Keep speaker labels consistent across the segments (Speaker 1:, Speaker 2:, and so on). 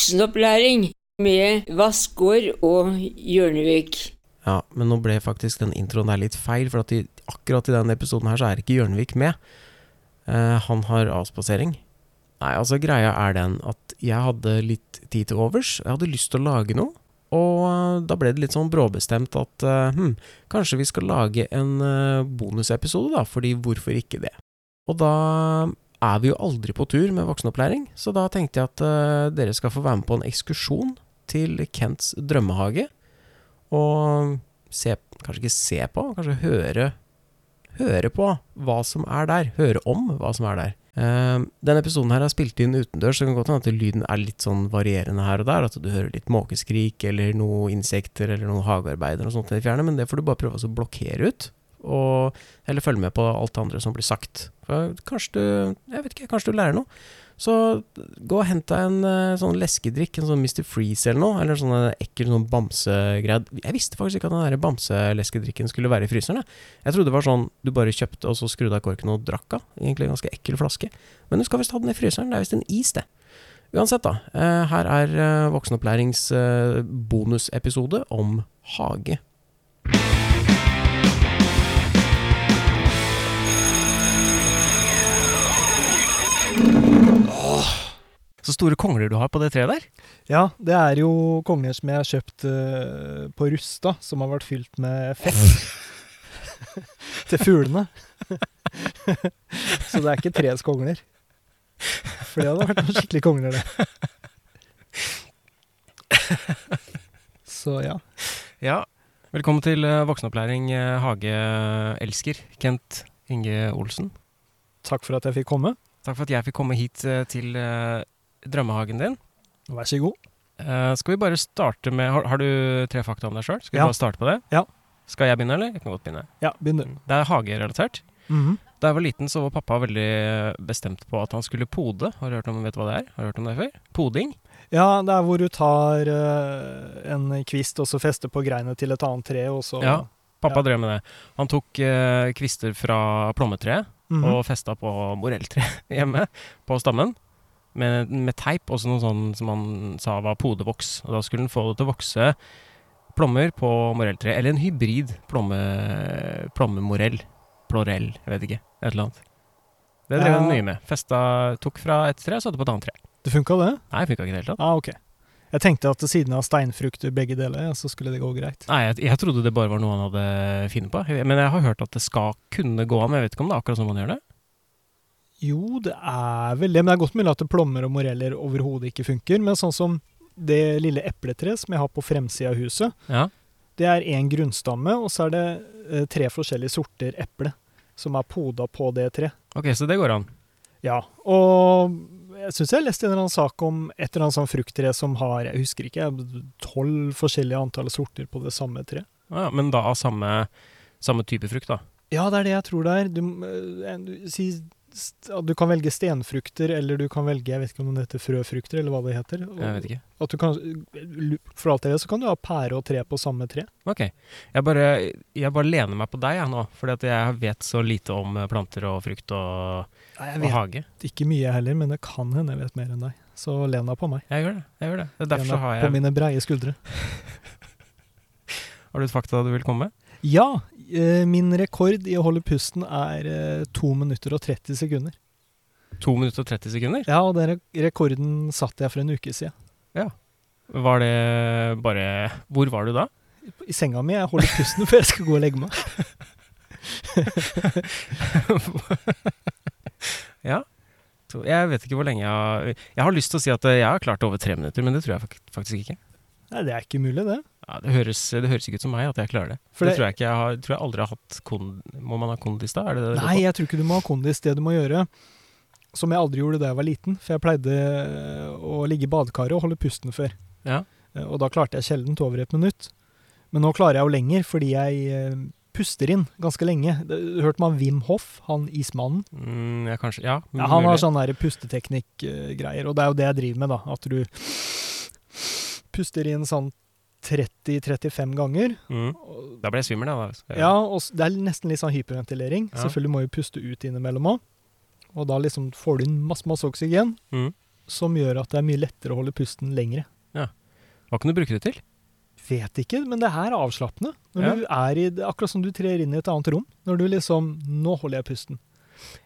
Speaker 1: voksenopplæring med Vassgård og Hjørnevik.
Speaker 2: Ja, men nå ble faktisk den introen der litt feil, for at i, akkurat i denne episoden her så er ikke Hjørnevik med. Eh, han har avspasering. Nei, altså greia er den at jeg hadde litt tid til overs, jeg hadde lyst til å lage noe, og eh, da ble det litt sånn bråbestemt at eh, hm, kanskje vi skal lage en eh, bonusepisode da, fordi hvorfor ikke det? Og da er vi jo aldri på tur med voksenopplæring, så da tenkte jeg at eh, dere skal få være med på en ekskursjon til Kents drømmehage og se, kanskje ikke se på, kanskje høre, høre på hva som er der. Høre om hva som er der. Eh, denne episoden her er spilt inn utendørs, så det kan godt hende at lyden er litt sånn varierende her og der. At du hører litt måkeskrik eller noen insekter eller noen hagearbeidere og sånt i det fjerne, men det får du bare prøve å blokkere ut. Og, eller følge med på alt det andre som blir sagt. For kanskje du Jeg vet ikke, kanskje du lærer noe. Så gå og hent deg en eh, sånn leskedrikk, en sånn Mr. Freeze eller noe, eller en sånn eh, ekkel sånn bamsegreie. Jeg visste faktisk ikke at den der bamseleskedrikken skulle være i fryseren. Jeg. jeg trodde det var sånn du bare kjøpte og så skrudde av korken og drakk av. Egentlig en ganske ekkel flaske. Men du skal visst ha den i fryseren, det er visst en is, det. Uansett, da. eh, Her er eh, voksenopplæringens eh, bonusepisode om hage. Så store kongler du har på det treet der.
Speaker 3: Ja, det er jo konger som jeg har kjøpt eh, på Rusta, som har vært fylt med fett til fuglene. Så det er ikke treets kongler. For det hadde vært noen skikkelig kongler, det. Så ja.
Speaker 2: Ja. Velkommen til eh, voksenopplæring, eh, hageelsker Kent Inge Olsen.
Speaker 3: Takk for at jeg fikk komme.
Speaker 2: Takk for at jeg fikk komme hit eh, til eh, drømmehagen din.
Speaker 3: Vær så god.
Speaker 2: Eh, Skal vi bare starte med Har, har du tre fakta om deg sjøl? Skal vi
Speaker 3: Ja.
Speaker 2: bare starte på det?
Speaker 3: Ja.
Speaker 2: Skal jeg begynne, eller? Jeg kan godt begynne.
Speaker 3: Ja, begynn du.
Speaker 2: Det er hagerelatert.
Speaker 3: Mhm.
Speaker 2: Da jeg var liten, så var pappa veldig eh, bestemt på at han skulle pode. Har du hørt om, vet du hva det er? Har du hørt om det før? Poding.
Speaker 3: Ja, det er hvor du tar eh, en kvist og så fester på greiene til et annet tre, og så
Speaker 2: Ja. Pappa
Speaker 3: Ja.
Speaker 2: drev med det. Han tok eh, kvister fra plommetreet
Speaker 3: Mhm.
Speaker 2: og festa på morelltreet hjemme, på stammen. Med, med teip, også noe sånn som han sa var podevoks. Og da skulle han få det til å vokse plommer på morelltreet. Eller en hybrid plomme, plommemorell. Plorell, jeg vet ikke. Et eller annet. Det drev
Speaker 3: Ja.
Speaker 2: han mye med. Festa, tok fra et tre og satte på et annet tre.
Speaker 3: Det funka, det?
Speaker 2: Nei, funka ikke i det hele tatt.
Speaker 3: Ah, ok. Jeg tenkte at siden av steinfrukter begge deler, ja, så skulle det gå greit.
Speaker 2: Nei, jeg, jeg trodde det bare var noe han hadde funnet på. Jeg- Men jeg har hørt at det skal kunne gå an. Men jeg vet ikke om det er akkurat sånn man gjør det.
Speaker 3: Jo, det er vel det, men det er godt mulig at plommer og moreller overhodet ikke funker. Men sånn som det lille epletreet som jeg har på fremsida av huset,
Speaker 2: Ja.
Speaker 3: det er én grunnstamme, og så er det eh, tre forskjellige sorter eple som er poda på det treet.
Speaker 2: Ok, så det går an.
Speaker 3: Ja, og jeg syns jeg har lest en eller annen sak om et eller annet sånn frukttre som har, jeg husker ikke, tolv forskjellige antall sorter på det samme treet.
Speaker 2: Ja, men da av samme, samme type frukt, da.
Speaker 3: Ja, det er det jeg tror det er. Du, m- eh, du, si, st- at du kan velge stenfrukter, eller du kan velge jeg vet ikke om det heter frøfrukter, eller hva det heter. Og,
Speaker 2: Jeg vet ikke.
Speaker 3: At du kan, for alt det så kan du ha pære og tre på samme tre.
Speaker 2: Ok. Jeg bare, jeg bare lener meg på deg jeg, nå, fordi at jeg vet så lite om eh, planter og frukt og, og
Speaker 3: Nei,
Speaker 2: hage.
Speaker 3: ikke mye jeg heller, men det kan hende jeg vet mer enn deg. Så len deg på meg.
Speaker 2: Jeg gjør det. jeg gjør det. Det er
Speaker 3: Len
Speaker 2: derfor så
Speaker 3: deg
Speaker 2: har
Speaker 3: På
Speaker 2: jeg
Speaker 3: mine breie skuldre.
Speaker 2: Har du et fakta du vil komme med?
Speaker 3: Ja, eh, min rekord i å holde pusten er eh, 2 minutter og 30 sekunder.
Speaker 2: 2 minutter og 30 sekunder?
Speaker 3: Ja, og den re- rekorden satte jeg for en uke siden.
Speaker 2: Var det bare Hvor var du da?
Speaker 3: I senga mi. Jeg holder pusten før jeg skal gå og legge meg.
Speaker 2: ja. To- Jeg vet ikke hvor lenge jeg har Jeg har lyst til å si at eh, jeg har klart over tre minutter, men det tror jeg fak- faktisk ikke.
Speaker 3: Nei, det er ikke mulig, det.
Speaker 2: Ja, det, høres, det høres ikke ut som meg at jeg klarer det.
Speaker 3: For
Speaker 2: det,
Speaker 3: det-
Speaker 2: tror jeg ikke jeg har Tror jeg aldri har hatt kon... Må man ha kondis da? Er det det det går på?
Speaker 3: Nei, jeg tror ikke du må ha kondis. Det du må gjøre, som jeg aldri gjorde da jeg var liten, for jeg pleide eh, å ligge i badekaret og holde pusten før.
Speaker 2: Ja.
Speaker 3: Eh, Og da klarte jeg sjeldent over et minutt. Men nå klarer jeg jo lenger, fordi jeg eh, puster inn ganske lenge. Det- Hørte man Wim Hoff, han ismannen?
Speaker 2: Mm, ja, kanskje. Ja,
Speaker 3: Ja, han har
Speaker 2: mulig.
Speaker 3: sånn pusteteknikk-greier, og det er jo det jeg driver med, da. At du puster inn sånn 30-35 ganger.
Speaker 2: mm. Da ble jeg svimmel, da. da.
Speaker 3: Ja, og s- det er nesten litt sånn hyperventilering.
Speaker 2: Ja.
Speaker 3: Selvfølgelig må jo puste ut innimellom òg. Og da liksom får du inn masse, masse oksygen.
Speaker 2: Mm.
Speaker 3: som gjør at det er mye lettere å holde pusten lengre.
Speaker 2: Hva kan du bruke det til?
Speaker 3: Vet ikke, men det her er avslappende. Når
Speaker 2: Ja.
Speaker 3: du er i, det- akkurat som du trer inn i et annet rom. Når du liksom Nå holder jeg pusten.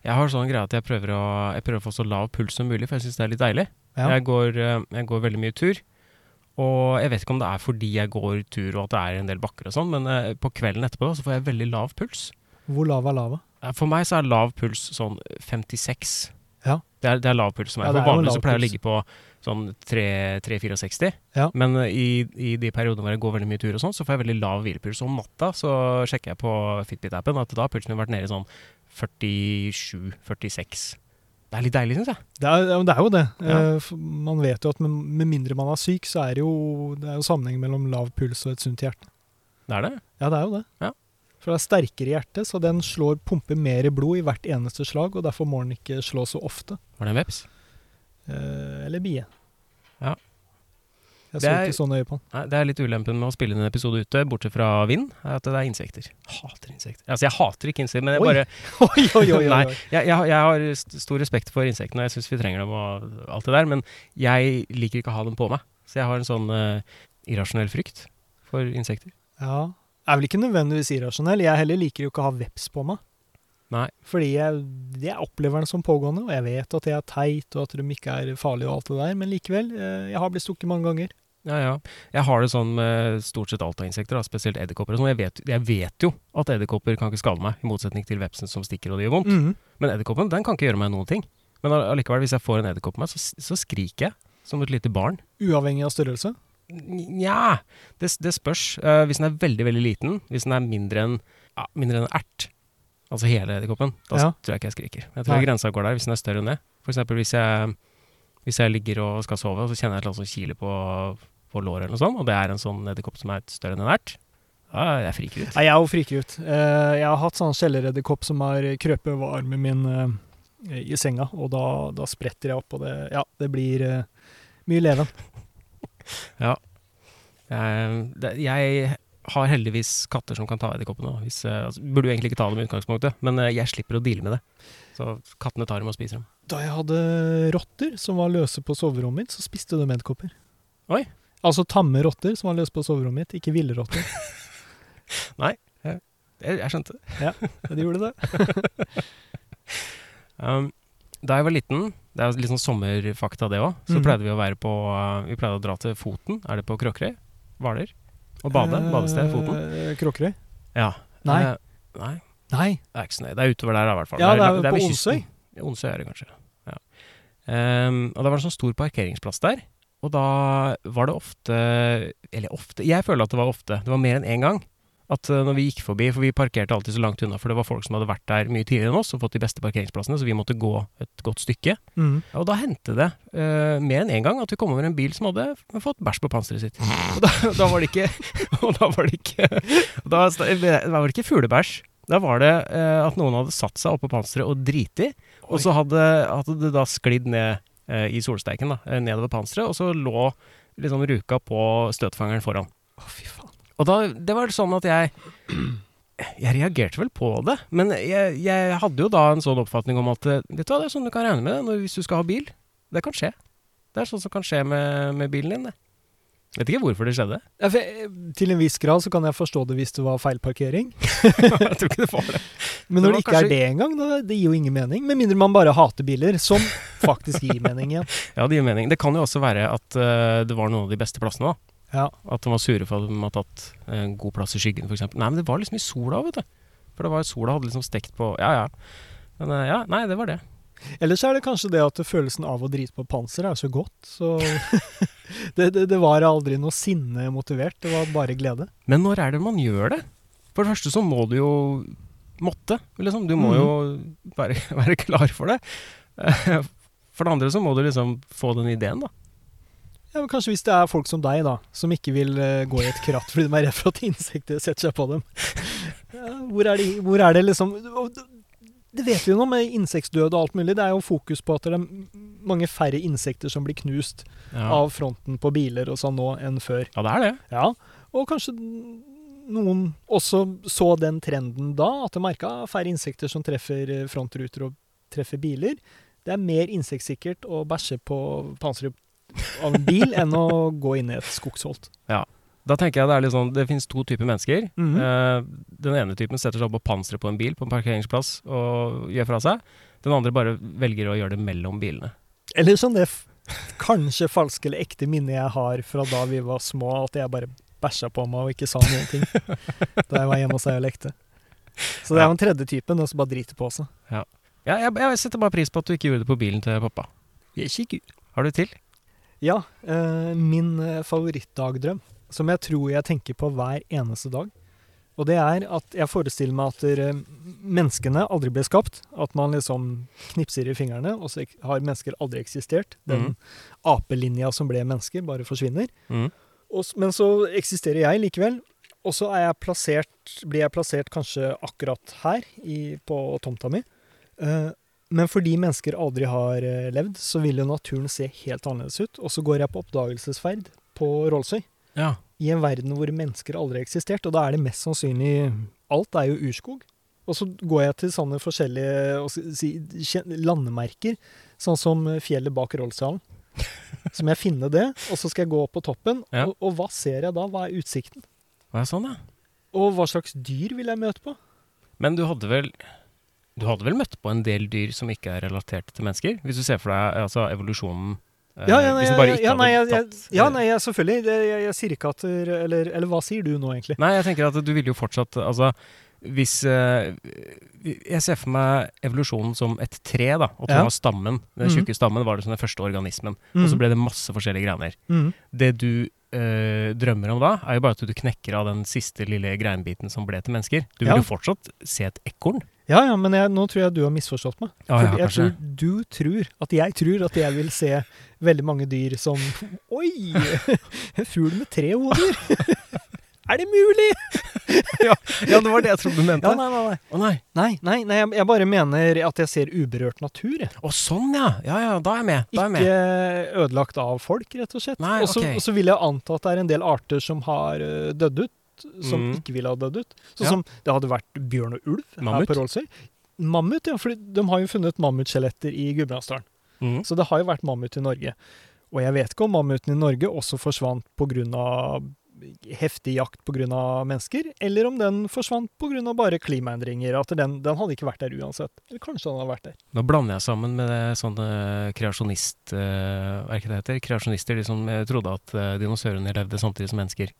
Speaker 2: Jeg har sånn greie at jeg prøver å, jeg prøver å få så lav puls som mulig, for jeg syns det er litt deilig.
Speaker 3: Ja.
Speaker 2: Jeg, går, eh, jeg går veldig mye tur. Og jeg vet ikke om det er fordi jeg går tur og at det er en del bakker og sånn, men eh, på kvelden etterpå da, så får jeg veldig lav puls.
Speaker 3: Hvor lav er lava?
Speaker 2: Eh, For meg så er lav puls sånn 56.
Speaker 3: Ja.
Speaker 2: Det er, det er lav puls for meg.
Speaker 3: Ja,
Speaker 2: for
Speaker 3: det er jo
Speaker 2: vanligvis så
Speaker 3: lav
Speaker 2: pleier jeg å
Speaker 3: puls.
Speaker 2: ligge på sånn 3-64.
Speaker 3: Ja.
Speaker 2: Men eh, i, i de periodene hvor jeg går veldig mye tur og sånn, så får jeg veldig lav hvilepuls. Og om natta så sjekker jeg på Fitbit-appen at da har pulsen min vært nede i sånn 47-46. Det er litt deilig, syns jeg.
Speaker 3: Det er, ja, men det er jo det.
Speaker 2: Ja.
Speaker 3: Eh, f- Man vet jo at med, med mindre man er syk, så er det jo, det er jo sammenheng mellom lav puls og et sunt hjerte.
Speaker 2: Det er det.
Speaker 3: Ja, det er jo det.
Speaker 2: Ja.
Speaker 3: For det er sterkere hjerte, så den slår pumper mer blod i hvert eneste slag, og derfor må den ikke slå så ofte.
Speaker 2: Var det en veps?
Speaker 3: Eh, eller bie.
Speaker 2: Ja.
Speaker 3: Jeg
Speaker 2: Det
Speaker 3: så
Speaker 2: er-
Speaker 3: ikke så nøye på den.
Speaker 2: Nei, det er litt ulempen med å spille en episode ute, bortsett fra vind, er at det er insekter. Hater insekter. Altså, jeg hater ikke insekter, men jeg
Speaker 3: Oi.
Speaker 2: bare
Speaker 3: Oi, oi, oi, oi,
Speaker 2: Nei.
Speaker 3: oi.
Speaker 2: jeg, jeg, jeg har st- stor respekt for insektene, og jeg syns vi trenger dem og alt det der, men jeg liker ikke å ha dem på meg. Så jeg har en sånn eh, irrasjonell frykt for insekter.
Speaker 3: Ja. Jeg er vel ikke nødvendigvis irrasjonell. Jeg heller liker jo ikke å ha veps på meg.
Speaker 2: Nei.
Speaker 3: Fordi jeg, jeg opplever den som pågående, og jeg vet at jeg er teit, og at de ikke er farlige og alt det der, men likevel. eh, Jeg har blitt stukket mange ganger.
Speaker 2: Ja, ja. Jeg har det sånn med stort sett alt av insekter, da, spesielt edderkopper. og sånn. Jeg, vet- jeg vet jo at edderkopper kan ikke skade meg, i motsetning til vepsen som stikker og det gjør vondt.
Speaker 3: Mhm.
Speaker 2: Men edderkoppen den kan ikke gjøre meg noen ting. Men all- allikevel, hvis jeg får en edderkopp på meg, så, s- så skriker jeg som et lite barn.
Speaker 3: Uavhengig av størrelse.
Speaker 2: Nja, det, det spørs. Eh, hvis den er veldig veldig liten, hvis den er mindre enn ja, mindre enn en ert, altså hele edderkoppen, da s-
Speaker 3: Ja.
Speaker 2: tror jeg ikke jeg skriker. Jeg tror
Speaker 3: Nei.
Speaker 2: grensa går der hvis den er større enn det. For eksempel hvis jeg, hvis jeg ligger og skal sove, og så kjenner jeg et eller annet som kiler på, på låret, eller noe sånt, og det er en sånn edderkopp som er større enn en ert, da er jeg friker ut.
Speaker 3: Nei, jeg er jo friker ut. Eh, Jeg har hatt sånn kjelleredderkopp som har krøpet over armen min eh, i senga, og da, da spretter jeg opp, og det, ja, det blir eh, mye leven.
Speaker 2: Jeg, Eh, det, jeg har heldigvis katter som kan ta edderkoppene. da, Hvis, eh, altså, burde jo egentlig ikke ta dem i utgangspunktet, men eh, jeg slipper å deale med det. Så kattene tar dem og spiser dem.
Speaker 3: Da jeg hadde rotter som var løse på soverommet mitt, så spiste de edderkopper.
Speaker 2: Oi.
Speaker 3: Altså tamme rotter som var løse på soverommet mitt, ikke ville rotter.
Speaker 2: Jeg, jeg skjønte
Speaker 3: De gjorde det.
Speaker 2: Um, da jeg var liten, det er jo litt sånn sommerfakta det òg, så
Speaker 3: Mhm.
Speaker 2: pleide vi å være på uh, Vi pleide å dra til Foten. Er det på Kråkerøy? Hvaler? Og bade? Badested? Foten?
Speaker 3: Eh, Kråkerøy?
Speaker 2: Ja.
Speaker 3: Eh, Nei.
Speaker 2: Eh, nei,
Speaker 3: Nei.
Speaker 2: det er ikke så nøye. Det er utover der, da, i hvert fall.
Speaker 3: Ja, det er jo
Speaker 2: ved kysten.
Speaker 3: på Onsøy.
Speaker 2: Ja, Onsøy er det kanskje. Ja. Um, og da var det en sånn stor parkeringsplass der. Og da var det ofte Eller ofte Jeg føler at det var ofte. Det var mer enn én gang. At uh, når vi gikk forbi, for vi parkerte alltid så langt unna, for det var folk som hadde vært der mye tidligere enn oss og fått de beste parkeringsplassene, så vi måtte gå et godt stykke.
Speaker 3: Mm.
Speaker 2: Ja, Og da hendte det eh, mer enn én en gang at vi kom over en bil som hadde f- fått bæsj på panseret sitt. Og da, da var det ikke Og da var det ikke Da, sta- da var det ikke fuglebæsj. Da var det eh, at noen hadde satt seg oppå panseret og driti, og så hadde, hadde det da sklidd ned eh, i solsteiken, da, eh, nedover panseret, og så lå liksom ruka på støtfangeren foran.
Speaker 3: Å, fy faen.
Speaker 2: Og da, det var sånn at jeg Jeg reagerte vel på det, men jeg, jeg hadde jo da en sånn oppfatning om at eh, Vet du hva, det er sånn du kan regne med det når, hvis du skal ha bil. Det kan skje. Det er sånn som kan skje med, med bilen din, det. Vet ikke hvorfor det skjedde.
Speaker 3: Ja, for, jeg- til en viss grad så kan jeg forstå det hvis det var feilparkering.
Speaker 2: jeg tror ikke det var det. Det
Speaker 3: Men når det
Speaker 2: var
Speaker 3: ikke
Speaker 2: kanskje-
Speaker 3: er det engang, da- det gir jo ingen mening. Med mindre man bare hater biler, som faktisk gir mening igjen.
Speaker 2: Ja, det gir mening. Det kan jo også være at eh, det var noen av de beste plassene, da.
Speaker 3: Ja.
Speaker 2: At de var sure for at de hadde tatt en god plass i skyggen, f.eks. Nei, men det var liksom i sola, vet du. For det var sola hadde liksom stekt på Ja, ja. Men eh, ja, nei, det var det.
Speaker 3: Ellers er det kanskje det at følelsen av å drite på panser er så godt, så det, det, det var aldri noe sinne motivert, det var bare glede.
Speaker 2: Men når er det man gjør det? For det første så må du jo måtte, liksom. Du må
Speaker 3: Mhm.
Speaker 2: jo være, være klar for det. For det andre så må du liksom få den ideen, da.
Speaker 3: Ja, men Kanskje hvis det er folk som deg, da, som ikke vil eh, gå i et kratt fordi de er redd for at insekter setter seg på dem. Ja, hvor, er det, hvor er det liksom og det- Det vet vi jo nå med insektdød og alt mulig. Det er jo fokus på at det er mange færre insekter som blir knust
Speaker 2: Ja,
Speaker 3: av fronten på biler og sånn nå enn før.
Speaker 2: ja det er det.
Speaker 3: Ja, og kanskje n- noen også så den trenden da, at de merka færre insekter som treffer eh, frontruter og treffer biler. Det er mer insektsikkert å bæsje på panseret av en bil enn å gå inn i et skogsholt.
Speaker 2: Da tenker jeg det er litt sånn, det finnes to typer mennesker.
Speaker 3: Mhm.
Speaker 2: Eh, den ene typen setter seg opp på panseret på en bil på en parkeringsplass og gjør fra seg. Den andre bare velger å gjøre det mellom bilene.
Speaker 3: Eller sånn det f kanskje falske eller ekte minnet jeg har fra da vi var små, at jeg bare bæsja på meg og ikke sa noen ting da jeg var hjemme hos deg og lekte. Så det er jo den tredje typen, den som bare driter på seg.
Speaker 2: Ja, jeg, jeg setter bare pris på at du ikke gjorde det på bilen til pappa. Har du til?
Speaker 3: Ja, eh, min eh, favorittdagdrøm, som jeg tror jeg tenker på hver eneste dag, og det er at jeg forestiller meg at eh, menneskene aldri ble skapt. At man liksom knipser i fingrene, og så ek- har mennesker aldri eksistert. Den
Speaker 2: Mhm.
Speaker 3: apelinja som ble mennesker, bare forsvinner. Og, s- men så eksisterer jeg likevel, og så er jeg plassert, blir jeg plassert kanskje akkurat her i, på tomta mi. Eh, men fordi mennesker aldri har eh, levd, så vil jo naturen se helt annerledes ut. Og så går jeg på oppdagelsesferd på Rollsøy,
Speaker 2: Ja.
Speaker 3: i en verden hvor mennesker aldri har eksistert. Og da er det mest sannsynlig Alt er jo urskog. Og så går jeg til sånne forskjellige hva skal jeg si, kjen- landemerker, sånn som fjellet bak Rollsdalen. Så må jeg finne det, og så skal jeg gå opp på toppen.
Speaker 2: Ja.
Speaker 3: Og, og hva ser jeg da? Hva er utsikten?
Speaker 2: Var jeg sånn, ja?
Speaker 3: Og hva slags dyr vil jeg møte
Speaker 2: Eh,
Speaker 3: på?
Speaker 2: Men du hadde vel Du hadde vel møtt på en del dyr som ikke er relatert til mennesker? Hvis du ser for deg altså, evolusjonen eh,
Speaker 3: Ja, ja, nei,
Speaker 2: Hvis du
Speaker 3: ja,
Speaker 2: bare
Speaker 3: ja,
Speaker 2: ikke
Speaker 3: ja, nei, jeg,
Speaker 2: hadde
Speaker 3: jeg,
Speaker 2: tatt eh,
Speaker 3: ja, nei jeg, selvfølgelig. Det, jeg, jeg sier ikke at eller, eller hva sier du nå, egentlig?
Speaker 2: Nei, jeg tenker at du ville jo fortsatt Altså, hvis eh, Jeg ser for meg evolusjonen som et tre, da. Og du
Speaker 3: Ja.
Speaker 2: har stammen. Den
Speaker 3: Mhm.
Speaker 2: tjukke stammen var det som den første organismen. Og så ble det masse forskjellige greiner.
Speaker 3: Mm.
Speaker 2: Det du eh, drømmer om da, er jo bare at du knekker av den siste lille greinbiten som ble til mennesker. Du
Speaker 3: Ja.
Speaker 2: vil jo fortsatt se et ekorn.
Speaker 3: Ja, ja, men jeg, nå tror jeg du har misforstått meg.
Speaker 2: Ah, Ja,
Speaker 3: For jeg tror du tror at jeg tror at jeg vil se veldig mange dyr som Oi! En fugl med tre hoder! Er det mulig?!
Speaker 2: ja, det var det jeg trodde du mente.
Speaker 3: Ja,
Speaker 2: Å
Speaker 3: nei, nei, nei.
Speaker 2: nei.
Speaker 3: Nei, nei, nei jeg, jeg bare mener at jeg ser uberørt natur. jeg.
Speaker 2: Å, sånn, ja. Ja, ja, da er jeg med. Da er jeg med.
Speaker 3: Ikke ødelagt av folk, rett og slett.
Speaker 2: Nei,
Speaker 3: og, så,
Speaker 2: ok.
Speaker 3: og så vil jeg anta at det er en del arter som har eh, dødd ut, som
Speaker 2: Mm.
Speaker 3: ikke ville ha dødd ut. Sånn
Speaker 2: Ja.
Speaker 3: som det hadde vært bjørn og ulv
Speaker 2: Mammut?
Speaker 3: her på Rollsøy. Mammut, ja. For de har jo funnet mammutskjeletter i Gudbrandsdalen.
Speaker 2: Mhm.
Speaker 3: Så det har jo vært mammut i Norge. Og jeg vet ikke om mammuten i Norge også forsvant pga. heftig jakt pga. mennesker, eller om den forsvant pga. bare klimaendringer. At den, den hadde ikke vært der uansett. Eller kanskje den hadde vært der.
Speaker 2: Nå blander jeg sammen med det sånne kreasjonist... eh, Hva er ikke det heter? Kreasjonister, de som eh, trodde at eh, dinosaurene levde samtidig som mennesker.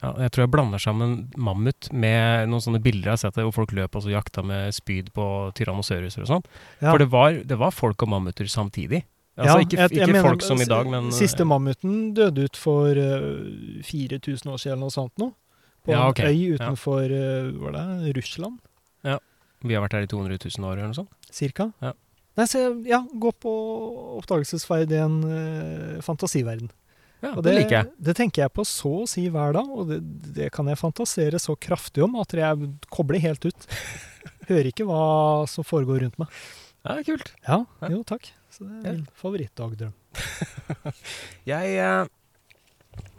Speaker 2: Ja, jeg tror jeg blander sammen mammut med noen sånne bilder jeg har sett der hvor folk løp og så jakta med spyd på tyrannosauruser og sånn.
Speaker 3: Ja.
Speaker 2: For det var, det var folk og mammuter samtidig. Altså
Speaker 3: Ja,
Speaker 2: ikke,
Speaker 3: jeg- jeg
Speaker 2: ikke
Speaker 3: mener,
Speaker 2: folk som i dag, men eh,
Speaker 3: Siste mammuten døde ut for eh, 4000 år siden eller noe sånt nå. På
Speaker 2: Ja, ok.
Speaker 3: en øy
Speaker 2: Ja.
Speaker 3: utenfor eh, hvor er det, Russland,
Speaker 2: Vi har vært her i 200 000 år eller noe sånt.
Speaker 3: cirka.
Speaker 2: Ja.
Speaker 3: Nei, så jeg- ja, gå på oppdagelsesferd i en eh, fantasiverden.
Speaker 2: Ja,
Speaker 3: Og
Speaker 2: det, liker jeg.
Speaker 3: Det tenker jeg på så å si hver dag, og det, det kan jeg fantasere så kraftig om at jeg kobler helt ut. Hører ikke hva som foregår rundt meg.
Speaker 2: Ja, det er kult.
Speaker 3: Ja,
Speaker 2: Ja.
Speaker 3: jo takk. Så det
Speaker 2: Ja.
Speaker 3: er min favorittdagdrøm.
Speaker 2: Jeg eh,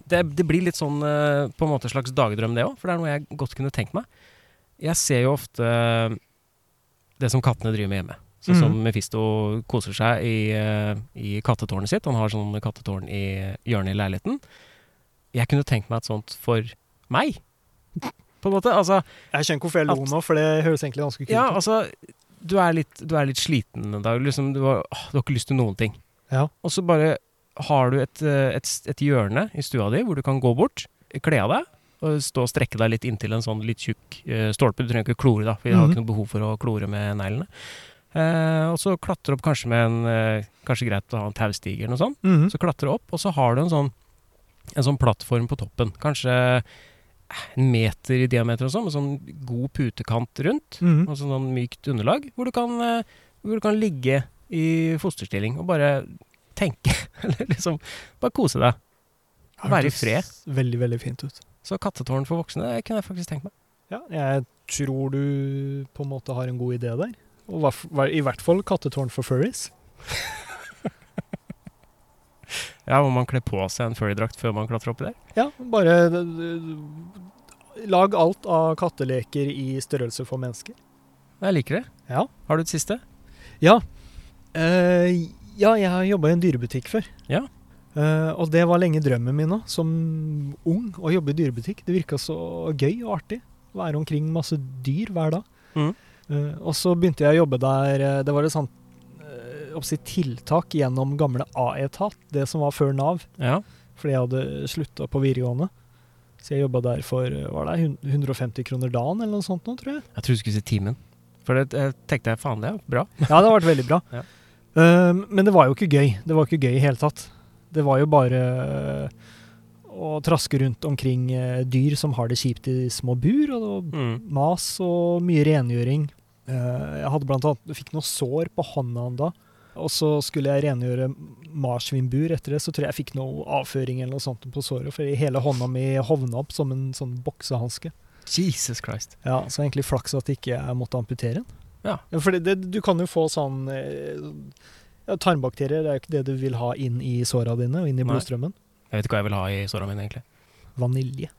Speaker 2: det, det blir litt sånn eh, på en måte slags dagdrøm, det òg, for det er noe jeg godt kunne tenkt meg. Jeg ser jo ofte eh, det som kattene driver med hjemme. Sånn som
Speaker 3: Mhm.
Speaker 2: Mefisto koser seg i, eh, i kattetårnet sitt. Han har sånn kattetårn i hjørnet i leiligheten. Jeg kunne tenkt meg et sånt for meg, på en måte. Altså,
Speaker 3: Jeg skjønner ikke hvorfor jeg lo
Speaker 2: At-
Speaker 3: nå, for det høres egentlig ganske kult ut.
Speaker 2: ja, altså du er litt, du er litt sliten en dag. Liksom, du, har, åh, du har ikke lyst til noen ting.
Speaker 3: Ja.
Speaker 2: Og så bare har du et, eh, et, s- et hjørne i stua di hvor du kan gå bort, kle av deg, og stå og strekke deg litt inntil en sånn litt tjukk eh, stolpe. Du trenger ikke klore, da, for jeg har
Speaker 3: Mhm.
Speaker 2: ikke noe behov for å klore med neglene. Eh, og så klatre opp kanskje med en eh, Kanskje greit å ha en taustige eller noe sånt.
Speaker 3: Mhm.
Speaker 2: Så klatre opp, og så har du en sånn, en sånn plattform på toppen. Kanskje eh, en meter i diameter og sånn, med sånn god putekant rundt.
Speaker 3: Mhm.
Speaker 2: Altså sånn mykt underlag, hvor du kan, eh, hvor du kan ligge i fosterstilling og bare tenke. Eller liksom bare kose deg. Være i
Speaker 3: Hørtes
Speaker 2: fred.
Speaker 3: Veldig, veldig fint ut.
Speaker 2: Så kattetårn for voksne, det kunne jeg faktisk tenkt meg.
Speaker 3: Ja, jeg tror du på en måte har en god idé der. Og hva- hva- i hvert fall kattetårn for furries.
Speaker 2: Ja, Må man kle på seg en furrydrakt før man klatrer oppi der?
Speaker 3: Ja, bare eh, Lag alt av katteleker i størrelse for mennesker.
Speaker 2: Jeg liker det.
Speaker 3: Ja.
Speaker 2: Har du et siste?
Speaker 3: Ja. Eh, ja, jeg har jobba i en dyrebutikk før.
Speaker 2: Ja.
Speaker 3: Eh, og det var lenge drømmen min òg, som ung, å jobbe i dyrebutikk. Det virka så gøy og artig. Være omkring masse dyr hver dag.
Speaker 2: Mhm.
Speaker 3: Eh, og så begynte jeg å jobbe der eh, Det var et sånt eh, oppsi tiltak gjennom gamle A-etat, det som var før Nav,
Speaker 2: Ja.
Speaker 3: fordi jeg hadde slutta på videregående. Så jeg jobba der for eh, var det hun- 150 kroner dagen eller noe sånt nå, tror jeg.
Speaker 2: Jeg trodde du skulle si timen. For det jeg tenkte jeg faen, det er bra.
Speaker 3: Ja, det har vært veldig bra.
Speaker 2: Ja.
Speaker 3: Um, men det var jo ikke gøy. Det var ikke gøy i hele tatt. Det var jo bare øh, å traske rundt omkring øh, dyr som har det kjipt i små bur, og det var
Speaker 2: Mm.
Speaker 3: mas og mye rengjøring. Eh, Jeg hadde blant annet, fikk noe sår på hånda da, og så skulle jeg rengjøre marsvinbur etter det, så tror jeg jeg fikk noe avføring eller noe sånt på såret, for hele hånda mi hovna opp som en sånn boksehanske.
Speaker 2: Jesus Christ.
Speaker 3: Ja, så egentlig flaks at ikke jeg måtte amputere den.
Speaker 2: Ja.
Speaker 3: for det, det, du kan jo få sånn eh, ja, Tarmbakterier er jo ikke det du vil ha inn i såra dine og inn i
Speaker 2: Nei.
Speaker 3: blodstrømmen.
Speaker 2: Jeg vet ikke hva jeg vil ha i såra mine, egentlig.
Speaker 3: Vanilje.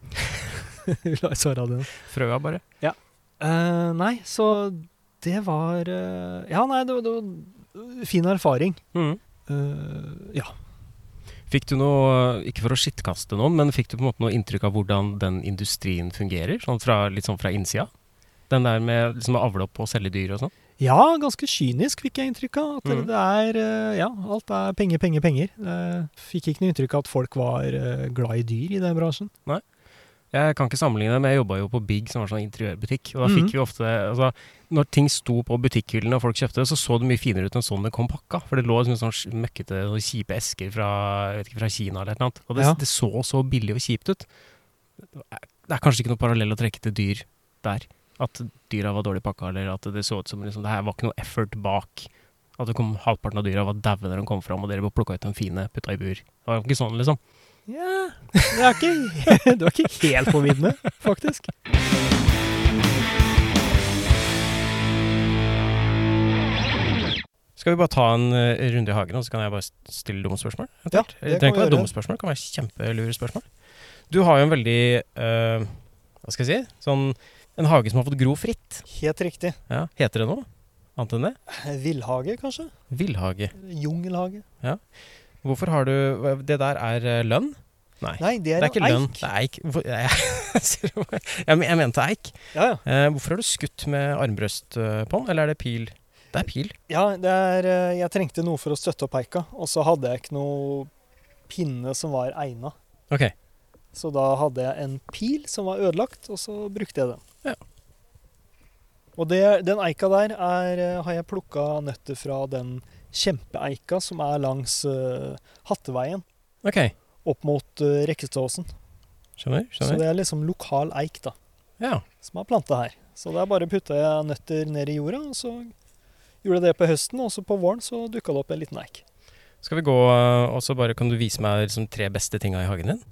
Speaker 3: vil ha i såra dine.
Speaker 2: Frøa, bare.
Speaker 3: Eh, nei, så det var eh, Ja, nei, det, var- det var fin erfaring.
Speaker 2: Mm.
Speaker 3: Eh, ja.
Speaker 2: Fikk du noe, ikke for å skittkaste noen, men fikk du på en måte noe inntrykk av hvordan den industrien fungerer? Sånn fra, litt sånn fra innsida? Den der med liksom å avle opp og selge dyr og sånn?
Speaker 3: ja, ganske kynisk fikk jeg inntrykk av. At det,
Speaker 2: Mhm.
Speaker 3: det er eh, Ja, alt er penger, penger, penger. Eh, fikk ikke noe inntrykk av at folk var eh, glad i dyr i den bransjen.
Speaker 2: Jeg kan ikke sammenligne, men jeg jobba jo på Big, som var sånn interiørbutikk. Og da fikk
Speaker 3: Mhm.
Speaker 2: vi ofte altså, Når ting sto på butikkhyllene og folk kjøpte det, så så det mye finere ut enn sånn det kom pakka. For det lå liksom sånn sj- møkkete og kjipe esker fra, jeg vet ikke, fra Kina eller et eller annet. Og det,
Speaker 3: Ja.
Speaker 2: det så så billig og kjipt ut. Det er kanskje ikke noe parallell å trekke til dyr der. At dyra var dårlig pakka, eller at det så ut som liksom, det her var ikke noe effort bak. At det kom, halvparten av dyra var daue når de kom fram, og dere bare plukka ut den fine, putta i bur. Det var ikke sånn, liksom.
Speaker 3: Ja, det er ikke, du er ikke helt på viddene, faktisk.
Speaker 2: Skal vi bare ta en eh, runde i hagen, og så kan jeg bare st- stille dumme spørsmål?
Speaker 3: Ja,
Speaker 2: Det trenger ikke være dumme spørsmål, det kan være kjempelure spørsmål. Du har jo en veldig eh, Hva skal jeg si sånn, En hage som har fått gro fritt.
Speaker 3: Helt riktig.
Speaker 2: Ja, heter det noe annet enn det?
Speaker 3: Villhage, kanskje?
Speaker 2: Villhage.
Speaker 3: Jungelhage?
Speaker 2: Hvorfor har du hva- Det der er eh, lønn?
Speaker 3: Nei, det
Speaker 2: Det
Speaker 3: er,
Speaker 2: er ikke lønn, det er eik. Hvorfor- Jeg, ser på meg. jeg, men- jeg mente eik.
Speaker 3: Ja, ja.
Speaker 2: Eh, hvorfor har du skutt med armbrøst eh, på den, eller er det pil? Det er pil.
Speaker 3: ja det er, eh, jeg trengte noe for å støtte opp eika, og så hadde jeg ikke noe pinne som var egna.
Speaker 2: Ok.
Speaker 3: Så da hadde jeg en pil som var ødelagt, og så brukte jeg den.
Speaker 2: Ja.
Speaker 3: Og det, den eika der er, eh, har jeg plukka nøtter fra den kjempeeika som er langs eh, Hatteveien,
Speaker 2: Ok,
Speaker 3: opp mot eh, Rekkeståsen.
Speaker 2: Skjønner.
Speaker 3: Så
Speaker 2: skjønner.
Speaker 3: det er liksom lokal eik da,
Speaker 2: Ja.
Speaker 3: som er planta her. Så det er bare putta jeg nøtter ned i jorda, og så gjorde jeg det på høsten, og så på våren så dukka det opp en liten eik.
Speaker 2: Skal vi gå, eh, og så bare kan du vise meg liksom, tre beste tinga i hagen din?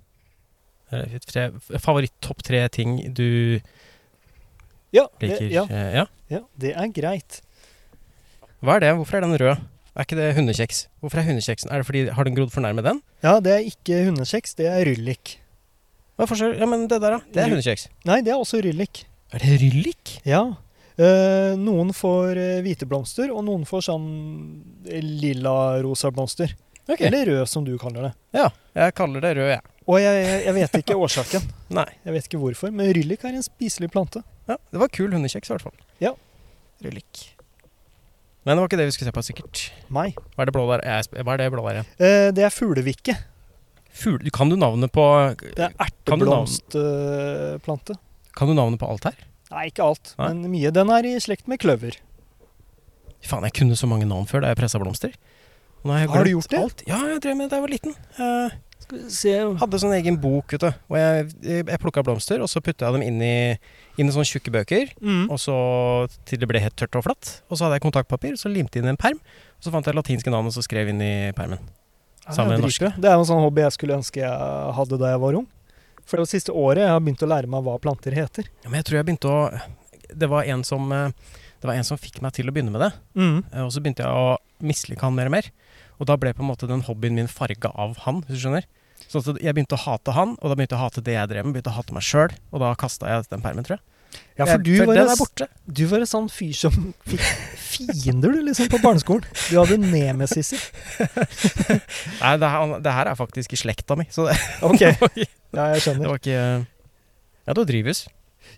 Speaker 2: Eller Tre, favoritt-topp tre ting du
Speaker 3: Ja, det,
Speaker 2: liker?
Speaker 3: ja,
Speaker 2: eh, ja.
Speaker 3: ja, det er greit.
Speaker 2: Hva er det? Hvorfor er den rød? Er ikke det hundekjeks? Hvorfor er hundekjeksen? Er det fordi, Har den grodd for nærme den?
Speaker 3: Ja, det er ikke hundekjeks, det er ryllik.
Speaker 2: Hva er forskjell? Ja, men det der, da. Det er hundekjeks.
Speaker 3: Nei, det er også ryllik.
Speaker 2: Er det ryllik?
Speaker 3: Ja. Eh, noen får eh, hvite blomster, og noen får sånn lilla-rosa blomster.
Speaker 2: Ok.
Speaker 3: Eller rød, som du kaller det.
Speaker 2: Ja. Jeg kaller det rød, jeg.
Speaker 3: Og jeg, jeg, jeg vet ikke årsaken.
Speaker 2: Nei.
Speaker 3: Jeg vet ikke hvorfor, men ryllik er en spiselig plante.
Speaker 2: Ja, det var kul hundekjeks, i hvert fall.
Speaker 3: Ja.
Speaker 2: Ryllik. Men det var ikke det vi skulle se på, sikkert.
Speaker 3: Nei.
Speaker 2: Hva er det blå der? Jeg sp- Hva er det blå der igjen?
Speaker 3: Eh, det er fuglevikke.
Speaker 2: Fugl... Kan du navnet på
Speaker 3: Det er
Speaker 2: Kan du navn-
Speaker 3: erteblomstplante.
Speaker 2: Kan du navnet på alt her?
Speaker 3: Nei, ikke alt,
Speaker 2: Nei.
Speaker 3: men mye. Den er i slekt med kløver.
Speaker 2: Faen, jeg kunne så mange navn før da jeg pressa blomster. Nå jeg
Speaker 3: Har du
Speaker 2: glemt
Speaker 3: gjort det?
Speaker 2: Alt. Ja, jeg drev med det da jeg var liten. Eh,
Speaker 1: Skal vi se
Speaker 2: hadde sånn egen bok, vet du. Og jeg, jeg plukka blomster, og så putta jeg dem inn i, inn i sånne tjukke bøker.
Speaker 3: Mm.
Speaker 2: Og så til det ble helt tørt og flatt. Og så hadde jeg kontaktpapir, så limte jeg inn i en perm. Og så fant jeg latinske navn, og så skrev inn i permen. Sammen med norske.
Speaker 3: Det er jo en sånn hobby jeg skulle ønske jeg hadde da jeg var ung. For det var siste året jeg har begynt å lære meg hva planter heter.
Speaker 2: Ja, men jeg tror jeg begynte å Det var en som eh, det var en som fikk meg til å begynne med det.
Speaker 3: Mm.
Speaker 2: Eh, Og så begynte jeg å mislike han mer og mer. Og da ble på en måte den hobbyen min farga av han, hvis du skjønner. Sånn at jeg begynte å hate han, og da begynte jeg å hate det jeg drev med. Begynte å hate meg sjøl, og da kasta jeg den permen, tror jeg.
Speaker 3: Ja, for du
Speaker 2: Jeg-
Speaker 3: var,
Speaker 2: den
Speaker 3: en,
Speaker 2: er borte.
Speaker 3: du var en sånn fyr som fikk fiender, du, liksom, på barneskolen. Du hadde nemesiser.
Speaker 2: Nei, det her, det her er faktisk i slekta mi, så det,
Speaker 3: Ok, ja, jeg
Speaker 2: det
Speaker 3: skjønner.
Speaker 2: var ikke Ja, du drives.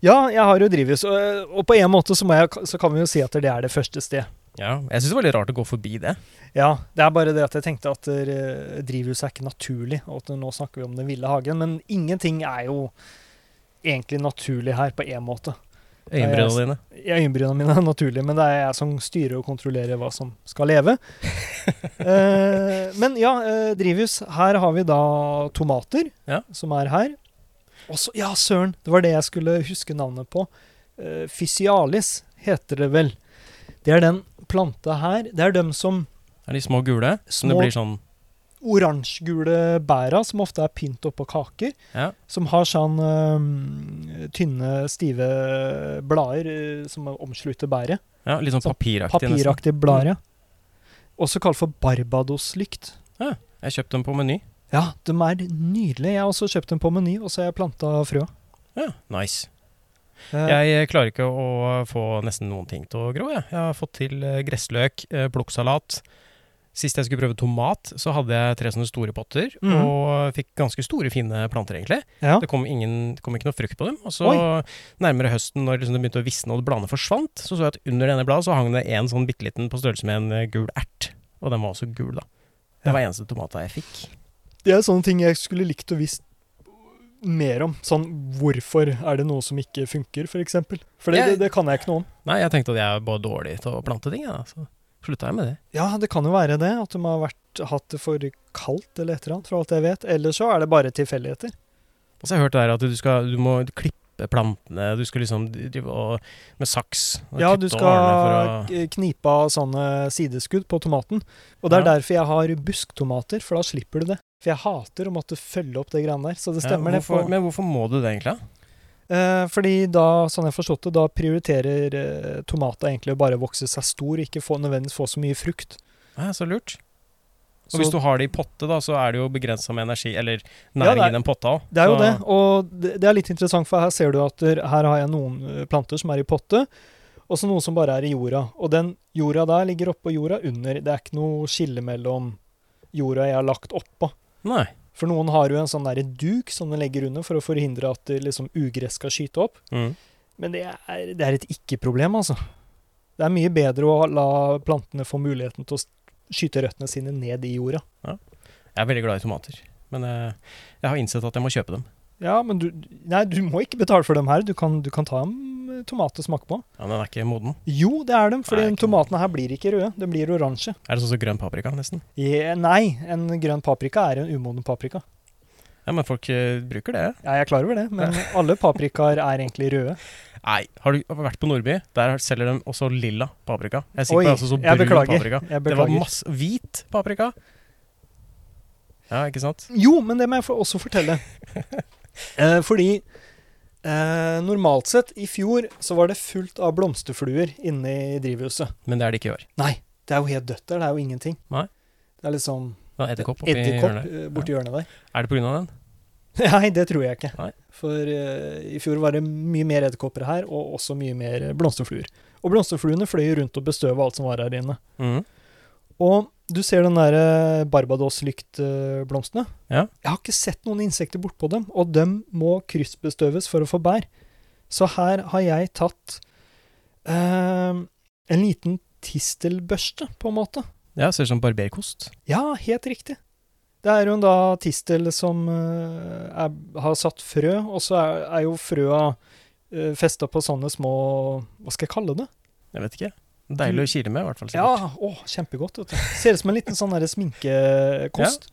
Speaker 3: Ja, jeg har jo drivhus, og, og på en måte så, må jeg, så kan vi jo si at det er det første sted.
Speaker 2: Ja, jeg syns det var litt rart å gå forbi det.
Speaker 3: Ja, det er bare det at jeg tenkte at eh, drivhuset er ikke naturlig, og at nå snakker vi om den ville hagen, men ingenting er jo egentlig naturlig her på en måte.
Speaker 2: Øyenbrynene dine.
Speaker 3: Ja, Øyenbrynene mine er naturlige, men det er jeg som styrer og kontrollerer hva som skal leve. Eh, men ja, eh, drivhus. Her har vi da tomater,
Speaker 2: Ja.
Speaker 3: som er her. Og så, ja, søren! Det var det jeg skulle huske navnet på. Eh, Fysialis heter det vel. Det er den planta her. Det er dem som
Speaker 2: Er de små gule? Som det
Speaker 3: Små-
Speaker 2: blir sånn
Speaker 3: oransjegule bæra, som ofte er pynt oppå kaker.
Speaker 2: Ja.
Speaker 3: Som har sånn eh, tynne, stive blader eh, som omslutter bæret.
Speaker 2: ja, litt sånn
Speaker 3: Sånn
Speaker 2: papiraktig. nesten. Mm.
Speaker 3: Papiraktig blader, ja. Også kalt for Barbados-lykt.
Speaker 2: Jeg kjøpte dem på Meny.
Speaker 3: Ja, de er nydelige. Jeg har også kjøpt dem på Meny, og så har jeg planta frøa.
Speaker 2: Ja, nice.
Speaker 3: Eh,
Speaker 2: Jeg eh, klarer ikke å få nesten noen ting til å gro. Jeg, jeg har fått til eh, gressløk, eh, plukksalat. Sist jeg skulle prøve tomat, så hadde jeg tre sånne store potter,
Speaker 3: Mhm.
Speaker 2: og fikk ganske store, fine planter, egentlig.
Speaker 3: ja.
Speaker 2: Det kom, ingen, det kom ikke noe frukt på dem. Og så
Speaker 3: Oi.
Speaker 2: nærmere høsten, når liksom det begynte å visne og bladene forsvant, så så jeg at under denne bladet så hang det en sånn bitte liten på størrelse med en eh, gul ert. Og den var også gul, da. Det
Speaker 3: Ja.
Speaker 2: var eneste tomata jeg fikk.
Speaker 3: Det er sånne ting jeg skulle likt å visst mer om. Sånn hvorfor er det noe som ikke funker, f.eks. For, eksempel. for det,
Speaker 2: Jeg-
Speaker 3: det, det kan jeg ikke noe om.
Speaker 2: Nei, jeg tenkte at jeg er bare dårlig til å plante ting, jeg, da. Så slutta jeg med det.
Speaker 3: Ja, det kan jo være det. At de har vært, hatt det for kaldt eller et eller annet, for alt jeg vet. Eller så er det bare tilfeldigheter.
Speaker 2: Og så har jeg hørt der at du, skal, du må klippe plantene, du skal liksom drive og, med saks og
Speaker 3: Ja, du
Speaker 2: kutte og arne
Speaker 3: skal
Speaker 2: for å
Speaker 3: k- knipe av sånne sideskudd på tomaten. Og det
Speaker 2: Ja.
Speaker 3: er derfor jeg har busktomater, for da slipper du det. For jeg hater å måtte følge opp det greiene der. Så det stemmer,
Speaker 2: ja,
Speaker 3: det. På,
Speaker 2: hvorfor, Men hvorfor må du det egentlig? da?
Speaker 3: eh, fordi da, sånn jeg har forstått det, da prioriterer eh, tomata egentlig å bare vokse seg stor, og ikke få, nødvendigvis få så mye frukt.
Speaker 2: Ja, så lurt. Og
Speaker 3: Så
Speaker 2: hvis du har det i potte, da, så er det jo begrensa med energi, eller
Speaker 3: Ja,
Speaker 2: næring
Speaker 3: det er-
Speaker 2: i den potta òg.
Speaker 3: Det er jo det, og det, det er litt interessant, for her ser du at der, her har jeg noen eh, planter som er i potte, og så noen som bare er i jorda. Og den jorda der ligger oppå jorda under. Det er ikke noe skille mellom jorda jeg har lagt oppå.
Speaker 2: Nei.
Speaker 3: For noen har jo en sånn derre duk som de legger under for å forhindre at eh, liksom, ugress skal skyte opp.
Speaker 2: Mm.
Speaker 3: Men det er, det er et ikke-problem, altså. Det er mye bedre å la plantene få muligheten til å s- skyte røttene sine ned i jorda.
Speaker 2: Jeg er veldig glad i tomater, men eh, jeg har innsett at jeg må kjøpe dem.
Speaker 3: Ja, men du Nei, du må ikke betale for dem her. Du kan, du kan ta en eh, tomat og smake på.
Speaker 2: Ja, men Den er ikke moden.
Speaker 3: Jo, det er dem, for
Speaker 2: Nei,
Speaker 3: de
Speaker 2: ikke-
Speaker 3: tomatene her blir ikke røde. De blir oransje.
Speaker 2: Er det sånn som grønn paprika, nesten?
Speaker 3: Je- nei, en grønn paprika er en umoden paprika.
Speaker 2: Ja, men folk eh, bruker det.
Speaker 3: Ja, jeg er klar over det, men alle paprikaer er egentlig røde.
Speaker 2: Nei, har du vært på Nordby? Der selger de også lilla paprika. Jeg er sikker
Speaker 3: Oi,
Speaker 2: på det er altså så
Speaker 3: jeg
Speaker 2: brun
Speaker 3: beklager.
Speaker 2: paprika.
Speaker 3: Jeg
Speaker 2: Det var
Speaker 3: beklager.
Speaker 2: masse hvit paprika. Ja, ikke sant?
Speaker 3: Jo, men det må jeg få- også fortelle. Eh, fordi eh, normalt sett, i fjor, så var det fullt av blomsterfluer inne i drivhuset.
Speaker 2: Men det er det ikke i år.
Speaker 3: Nei, det er jo helt dødt der. Det er jo ingenting.
Speaker 2: Nei.
Speaker 3: Det er liksom
Speaker 2: Det er edderkopp oppi
Speaker 3: edderkopp
Speaker 2: hjørnet.
Speaker 3: eh, borti hjørnet der.
Speaker 2: Er det pga. den?
Speaker 3: Nei, det tror jeg ikke.
Speaker 2: Nei.
Speaker 3: For eh, i fjor var det mye mer edderkopper her, og også mye mer eh, blomsterfluer. Og blomsterfluene fløy jo rundt og bestøva alt som var her inne.
Speaker 2: Mhm.
Speaker 3: Og du ser den der eh, Barbados-lyktblomstene.
Speaker 2: Ja.
Speaker 3: Jeg har ikke sett noen insekter bortpå dem, og dem må kryssbestøves for å få bær. Så her har jeg tatt eh, en liten tistelbørste, på en måte.
Speaker 2: Ja, ser ut som barberkost.
Speaker 3: Ja, helt riktig. Det er jo en da tistel som eh, er, har satt frø, og så er, er jo frøa uh, festa på sånne små Hva skal jeg kalle det?
Speaker 2: Jeg vet ikke. Deilig å kile med, i hvert fall.
Speaker 3: Ja,
Speaker 2: sikkert.
Speaker 3: å, kjempegodt. Vet du. Ser ut som en liten sånn der sminkekost.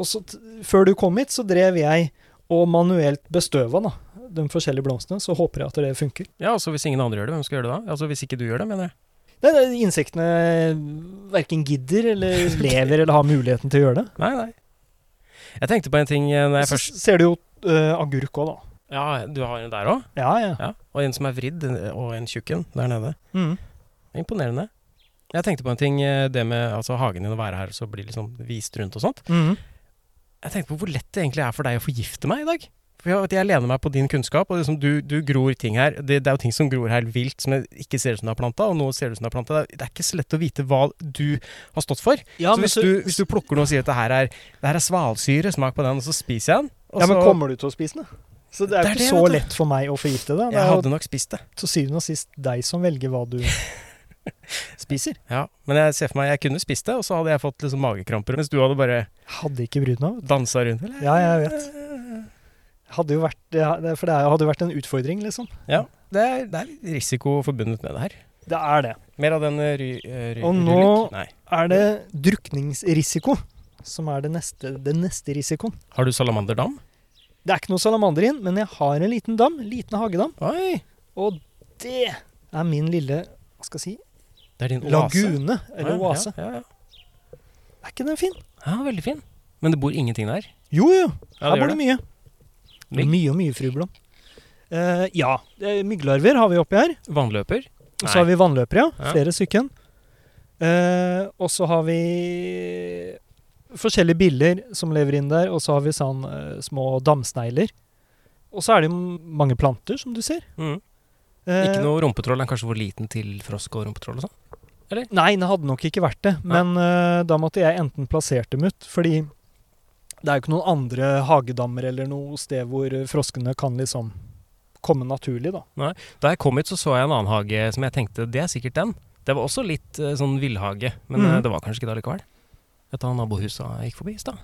Speaker 3: Og så, t før du kom hit, så drev jeg og manuelt bestøva da, de forskjellige blomstene. Så håper jeg at det funker.
Speaker 2: ja, altså Hvis ingen andre gjør det, hvem skal gjøre det da? Altså Hvis ikke du gjør det, mener jeg.
Speaker 3: Det er det Insektene verken gidder eller lever eller har muligheten til å gjøre det.
Speaker 2: Nei, nei. Jeg tenkte på en ting eh, når jeg
Speaker 3: Så
Speaker 2: først
Speaker 3: s- ser du jo eh, agurk òg, da.
Speaker 2: Ja, du har en der òg?
Speaker 3: Ja, ja.
Speaker 2: Ja. Og en som er vridd, og en tjukken der nede.
Speaker 3: Mm.
Speaker 2: Imponerende. Jeg tenkte på en ting, eh, det med altså, hagen din å være her, så blir liksom vist rundt og sånt.
Speaker 3: Mm.
Speaker 2: Jeg tenkte på hvor lett det egentlig er for deg å forgifte meg i dag. For jeg, vet, jeg lener meg på din kunnskap, og liksom, du, du gror ting her. Det, det er jo ting som gror her vilt, som jeg ikke ser ut som det er planta, og nå ser det ut som det er planta. Det er, det er ikke så lett å vite hva du har stått for.
Speaker 3: Ja,
Speaker 2: så, hvis du, hvis du plukker noe og sier at det her er, det her er svalsyre, smak på den, og så spiser jeg den. Og
Speaker 3: ja, men
Speaker 2: så-
Speaker 3: kommer du til å spise den? Så det er
Speaker 2: altså- Det er det,
Speaker 3: jo ikke så
Speaker 2: vet du.
Speaker 3: lett for meg å forgifte det. Det
Speaker 2: Jeg
Speaker 3: er jo
Speaker 2: hadde nok spist det.
Speaker 3: til syvende og sist deg som velger hva du spiser.
Speaker 2: Ja, men jeg ser for meg jeg kunne spist det, og så hadde jeg fått liksom magekramper, mens du hadde bare
Speaker 3: Hadde ikke brydd meg. vet
Speaker 2: dansa rundt.
Speaker 3: du. Ja, jeg vet. Hadde jo vært, ja, det- for det er- hadde jo vært en utfordring, liksom.
Speaker 2: Det er, det er risiko forbundet med det her.
Speaker 3: Det er det.
Speaker 2: Mer av den eh, ry... eh, ry
Speaker 3: Og nå-
Speaker 2: rylik? Nei.
Speaker 3: Er det drukningsrisiko som er det neste, den neste risikoen?
Speaker 2: Har du salamanderdam?
Speaker 3: Det er ikke noe salamander igjen, men jeg har en liten dam. Liten hagedam.
Speaker 2: Oi!
Speaker 3: Og det er min lille hva skal jeg si,
Speaker 2: Det er din oase.
Speaker 3: lagune, eller
Speaker 2: Ja,
Speaker 3: oase.
Speaker 2: Ja, ja, ja.
Speaker 3: Er ikke den fin?
Speaker 2: ja, veldig fin. Men det bor ingenting der.
Speaker 3: Jo, jo.
Speaker 2: Ja,
Speaker 3: Her
Speaker 2: det
Speaker 3: bor
Speaker 2: gjør
Speaker 3: det mye.
Speaker 2: Mygg?
Speaker 3: Mye og mye frublom. Eh, ja. eh, Mygglarver har vi oppi her.
Speaker 2: Vannløper?
Speaker 3: Og så har vi vannløpere, ja.
Speaker 2: Ja.
Speaker 3: Flere stykken. Eh, og så har vi forskjellige biller som lever inn der. Og så har vi sånn eh, små damsnegler. Og så er det jo mange planter, som du ser.
Speaker 2: Mm.
Speaker 3: Eh,
Speaker 2: Ikke noe rumpetroll? Den er kanskje for liten til frosk og rumpetroll og sånn?
Speaker 3: Nei, det hadde nok ikke vært det. Men eh, da måtte jeg enten plassert dem ut, fordi det er jo ikke noen andre hagedammer eller noe sted hvor eh, froskene kan liksom komme naturlig, da.
Speaker 2: Da jeg kom hit, så så jeg en annen hage som jeg tenkte det er sikkert den. Det var også litt eh, sånn villhage, men
Speaker 3: Mhm.
Speaker 2: eh, det var kanskje ikke det allikevel. Et av nabohusa jeg gikk forbi i stad.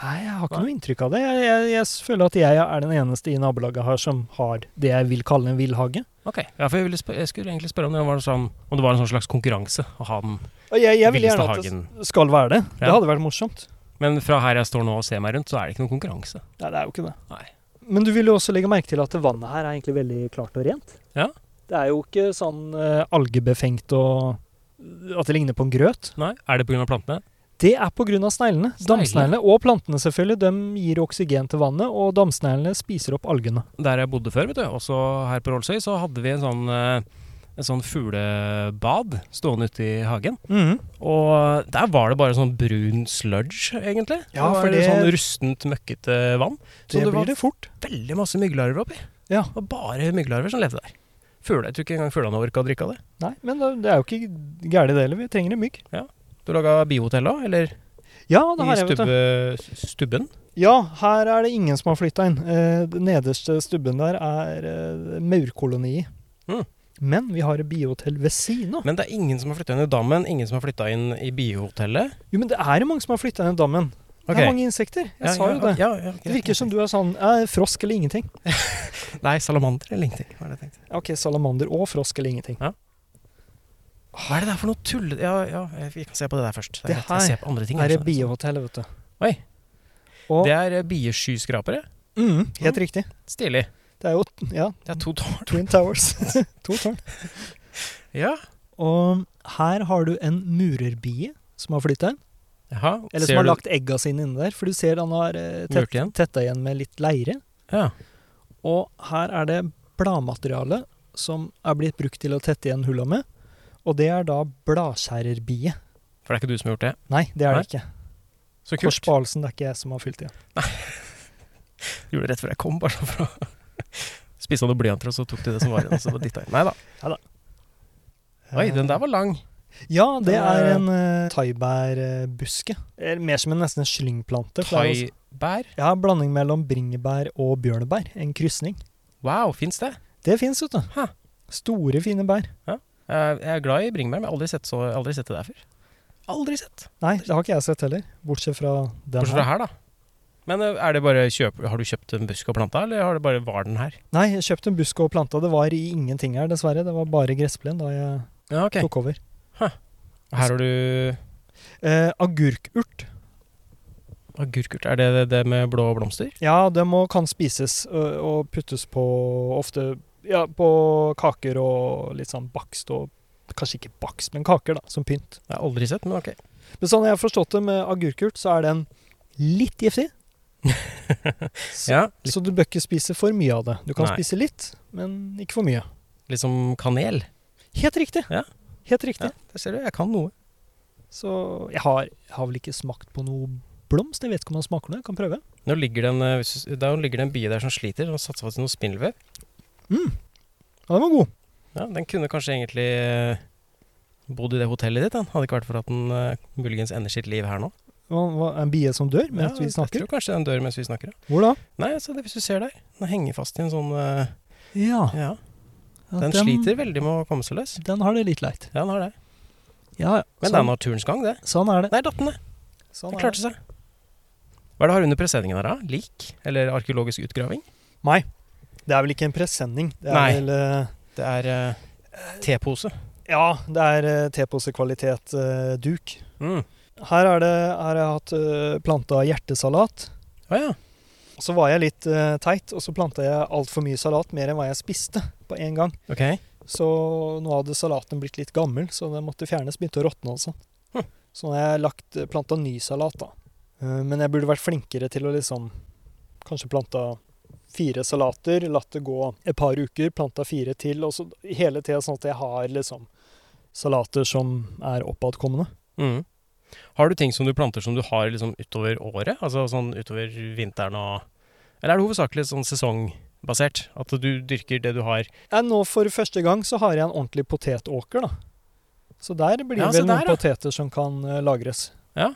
Speaker 3: Nei, jeg har ikke
Speaker 2: Nei.
Speaker 3: noe inntrykk av det. Jeg, jeg, jeg s- føler at jeg er den eneste i nabolaget her som har det jeg vil kalle en villhage.
Speaker 2: Ok, ja, for jeg, ville spør- jeg skulle egentlig spørre om det var, sånn, om det var en sånn slags konkurranse å ha den.
Speaker 3: Og jeg, jeg vil
Speaker 2: Villeste
Speaker 3: gjerne at det
Speaker 2: hagen.
Speaker 3: s- skal være det. Det
Speaker 2: Ja.
Speaker 3: hadde vært morsomt.
Speaker 2: Men fra her jeg står nå og ser meg rundt, så er det ikke noen konkurranse.
Speaker 3: Nei, det er jo ikke det.
Speaker 2: Nei.
Speaker 3: Men du vil jo også legge merke til at vannet her er egentlig veldig klart og rent.
Speaker 2: Ja.
Speaker 3: Det er jo ikke sånn eh, algebefengt og øh, at det ligner på en grøt.
Speaker 2: Nei, Er det pga. plantene?
Speaker 3: Det er pga. sneglene.
Speaker 2: Sneglene?
Speaker 3: Damsneglene og plantene selvfølgelig. De gir oksygen til vannet, og damsneglene spiser opp algene.
Speaker 2: Der jeg bodde før, vet du, også her på Rolsøy, så hadde vi en sånn, eh, en sånn fuglebad stående ute i hagen.
Speaker 3: Mhm.
Speaker 2: Og der var det bare sånn brun sludge, egentlig.
Speaker 3: Ja, for
Speaker 2: var
Speaker 3: det-
Speaker 2: Sånn rustent, møkkete vann.
Speaker 3: Det,
Speaker 2: Så det
Speaker 3: blir
Speaker 2: var-
Speaker 3: det fort.
Speaker 2: Veldig masse mygglarver oppi.
Speaker 3: Ja.
Speaker 2: Det var bare mygglarver som levde der. Fugler, Jeg tror ikke engang fuglene orka å drikke av det.
Speaker 3: Nei, men det- det er jo ikke gærent det heller. Vi trenger en mygg.
Speaker 2: Du laga bihotell òg, eller?
Speaker 3: Ja, det har jeg,
Speaker 2: I
Speaker 3: vet du.
Speaker 2: stubbe, stubben?
Speaker 3: Ja, her er det ingen som har flytta inn. Eh, Den nederste stubben der er eh, maurkoloni.
Speaker 2: Mm.
Speaker 3: Men vi har et biehotell ved siden av.
Speaker 2: Men det er ingen som har flytta inn i dammen, ingen som har flytta inn i biohotellet.
Speaker 3: Jo, men det er mange som har flytta ned dammen. Det
Speaker 2: Ok.
Speaker 3: er mange insekter. Jeg
Speaker 2: Ja,
Speaker 3: sa
Speaker 2: ja,
Speaker 3: jo det.
Speaker 2: Ja, ja, greit.
Speaker 3: Det virker som du er sånn eh, frosk eller ingenting.
Speaker 2: Nei, salamander eller ingenting. Hva er det jeg tenkte?
Speaker 3: Ok, salamander og frosk eller ingenting.
Speaker 2: Hva er det der for noe tull... Ja, ja, jeg- vi kan se på det der først.
Speaker 3: Det
Speaker 2: er greit.
Speaker 3: her
Speaker 2: jeg ser på andre ting.
Speaker 3: Her
Speaker 2: jeg
Speaker 3: er
Speaker 2: skjønner.
Speaker 3: biohotellet, vet du.
Speaker 2: Oi.
Speaker 3: Og,
Speaker 2: Det er eh, bieskyskrapere.
Speaker 3: mm, helt riktig.
Speaker 2: Stilig.
Speaker 3: Det er jo ja,
Speaker 2: Det er to tårn.
Speaker 3: Twin Towers. to tårn.
Speaker 2: Ja.
Speaker 3: Og her har du en murerbie som har flytta inn.
Speaker 2: Jaha.
Speaker 3: Eller
Speaker 2: ser
Speaker 3: som har
Speaker 2: du-
Speaker 3: lagt egga sine inni der. For du ser han har eh,
Speaker 2: Murt
Speaker 3: tett,
Speaker 2: igjen?
Speaker 3: tetta igjen med litt leire.
Speaker 2: Ja.
Speaker 3: Og her er det bladmateriale som er blitt brukt til å tette igjen hulla med. Og det er da bladskjærerbie.
Speaker 2: For det er ikke du som har gjort det.
Speaker 3: Nei, det er
Speaker 2: Nei,
Speaker 3: det ikke.
Speaker 2: Så kult.
Speaker 3: Kors Bahlsen, det er ikke jeg som har fylt igjen.
Speaker 2: Gjorde det rett før jeg kom, bare sånn for å Spiste noen blyanter, og så tok de det som var igjen. og så bare dytta jeg. Nei da. Oi, den der var lang.
Speaker 3: Ja, det er
Speaker 2: Eh,
Speaker 3: en uh, thaibærbuske. Eller Mer som en nesten en slyngplante. for det er jo-
Speaker 2: Thaibær.
Speaker 3: Ja, blanding mellom bringebær og bjørnebær. En krysning.
Speaker 2: Wow, fins det?
Speaker 3: Det fins, vet du.
Speaker 2: Hæ.
Speaker 3: Store, fine bær.
Speaker 2: Eh, Jeg jeg er glad i bringebær, men jeg har aldri sett, så, aldri sett det der før. Aldri sett.
Speaker 3: Nei, det har ikke jeg sett heller. Bortsett fra den
Speaker 2: Bortsett fra her,
Speaker 3: her.
Speaker 2: da. Men eh, er det bare kjøp, har du kjøpt en busk og planta, eller har det bare var den her?
Speaker 3: Nei, jeg kjøpte en busk og planta. Det var i ingenting her, dessverre. Det var bare gressplen da jeg
Speaker 2: Ja, ok.
Speaker 3: tok over.
Speaker 2: Her har du
Speaker 3: Eh, agurkurt.
Speaker 2: agurkurt. Er det det, det med blå blomster?
Speaker 3: Ja, det må, kan spises ø, og puttes på ofte ja, på kaker og litt sånn bakst og Kanskje ikke bakst, men kaker, da, som pynt.
Speaker 2: Jeg har aldri sett, men ok.
Speaker 3: Men sånn jeg har forstått det med agurkurt, så er den litt giftig. så,
Speaker 2: Ja, litt,
Speaker 3: så du bør ikke spise for mye av det. Du kan
Speaker 2: Nei.
Speaker 3: spise litt, men ikke for mye.
Speaker 2: litt som kanel.
Speaker 3: Helt riktig.
Speaker 2: Ja.
Speaker 3: Helt riktig.
Speaker 2: Ja, der ser du, jeg kan noe.
Speaker 3: Så jeg har, jeg har vel ikke smakt på noe blomst. Jeg vet ikke om han smaker noe. Jeg kan prøve.
Speaker 2: Nå ligger det en, eh, hvis du- der ligger det en bie der som sliter, og satser fast i noe spindelvev.
Speaker 3: Mm. Ja, den var god.
Speaker 2: Ja, den kunne kanskje egentlig eh, bodd i det hotellet ditt. Den. Hadde ikke vært for at den eh, muligens ender sitt liv her nå.
Speaker 3: Hva- hva- En bie som dør mens
Speaker 2: Ja,
Speaker 3: vi snakker.
Speaker 2: Jeg tror kanskje den dør mens vi snakker. Ja.
Speaker 3: Hvor da?
Speaker 2: Nei, altså, det, hvis du ser der, den henger fast i en sånn eh,
Speaker 3: Ja,
Speaker 2: Ja.
Speaker 3: ja,
Speaker 2: Den sliter veldig med å komme seg løs.
Speaker 3: Den har det litt leit.
Speaker 2: Ja, den har det.
Speaker 3: Ja, ja.
Speaker 2: Men det er
Speaker 3: sånn,
Speaker 2: naturens gang, det.
Speaker 3: sånn er det.
Speaker 2: Nei, datten, det.
Speaker 3: Sånn
Speaker 2: Den
Speaker 3: er det.
Speaker 2: klarte seg. Hva er det du har under presenningen her, da? Lik? Eller arkeologisk utgraving?
Speaker 3: Nei. Det er vel ikke en presenning. Det er
Speaker 2: Nei.
Speaker 3: vel eh,
Speaker 2: Det er eh, tepose.
Speaker 3: Ja, det er eh, teposekvalitet eh, duk.
Speaker 2: Mm.
Speaker 3: Her, er det, her har jeg hatt eh, planta hjertesalat.
Speaker 2: Å ja.
Speaker 3: Og Så var jeg litt eh, teit, og så planta jeg altfor mye salat, mer enn hva jeg spiste på en gang.
Speaker 2: Ok.
Speaker 3: Så nå hadde salaten blitt litt gammel, så den måtte fjernes. Begynte å råtne og sånn.
Speaker 2: Hm.
Speaker 3: Så nå har jeg lagt, planta ny salat, da. Eh, Men jeg burde vært flinkere til å liksom Kanskje planta fire salater, latt det gå et par uker, planta fire til, og så hele tida sånn at jeg har liksom salater som er oppadkommende.
Speaker 2: Mm. Har du ting som du planter som du har liksom utover året? Altså sånn utover vinteren og Eller er det hovedsakelig sånn sesongbasert? At du dyrker det du har?
Speaker 3: Ja, nå for første gang så har jeg en ordentlig potetåker, da. Så der blir det
Speaker 2: Ja, så
Speaker 3: vel
Speaker 2: der,
Speaker 3: noen
Speaker 2: ja.
Speaker 3: poteter som kan eh, lagres.
Speaker 2: Ja.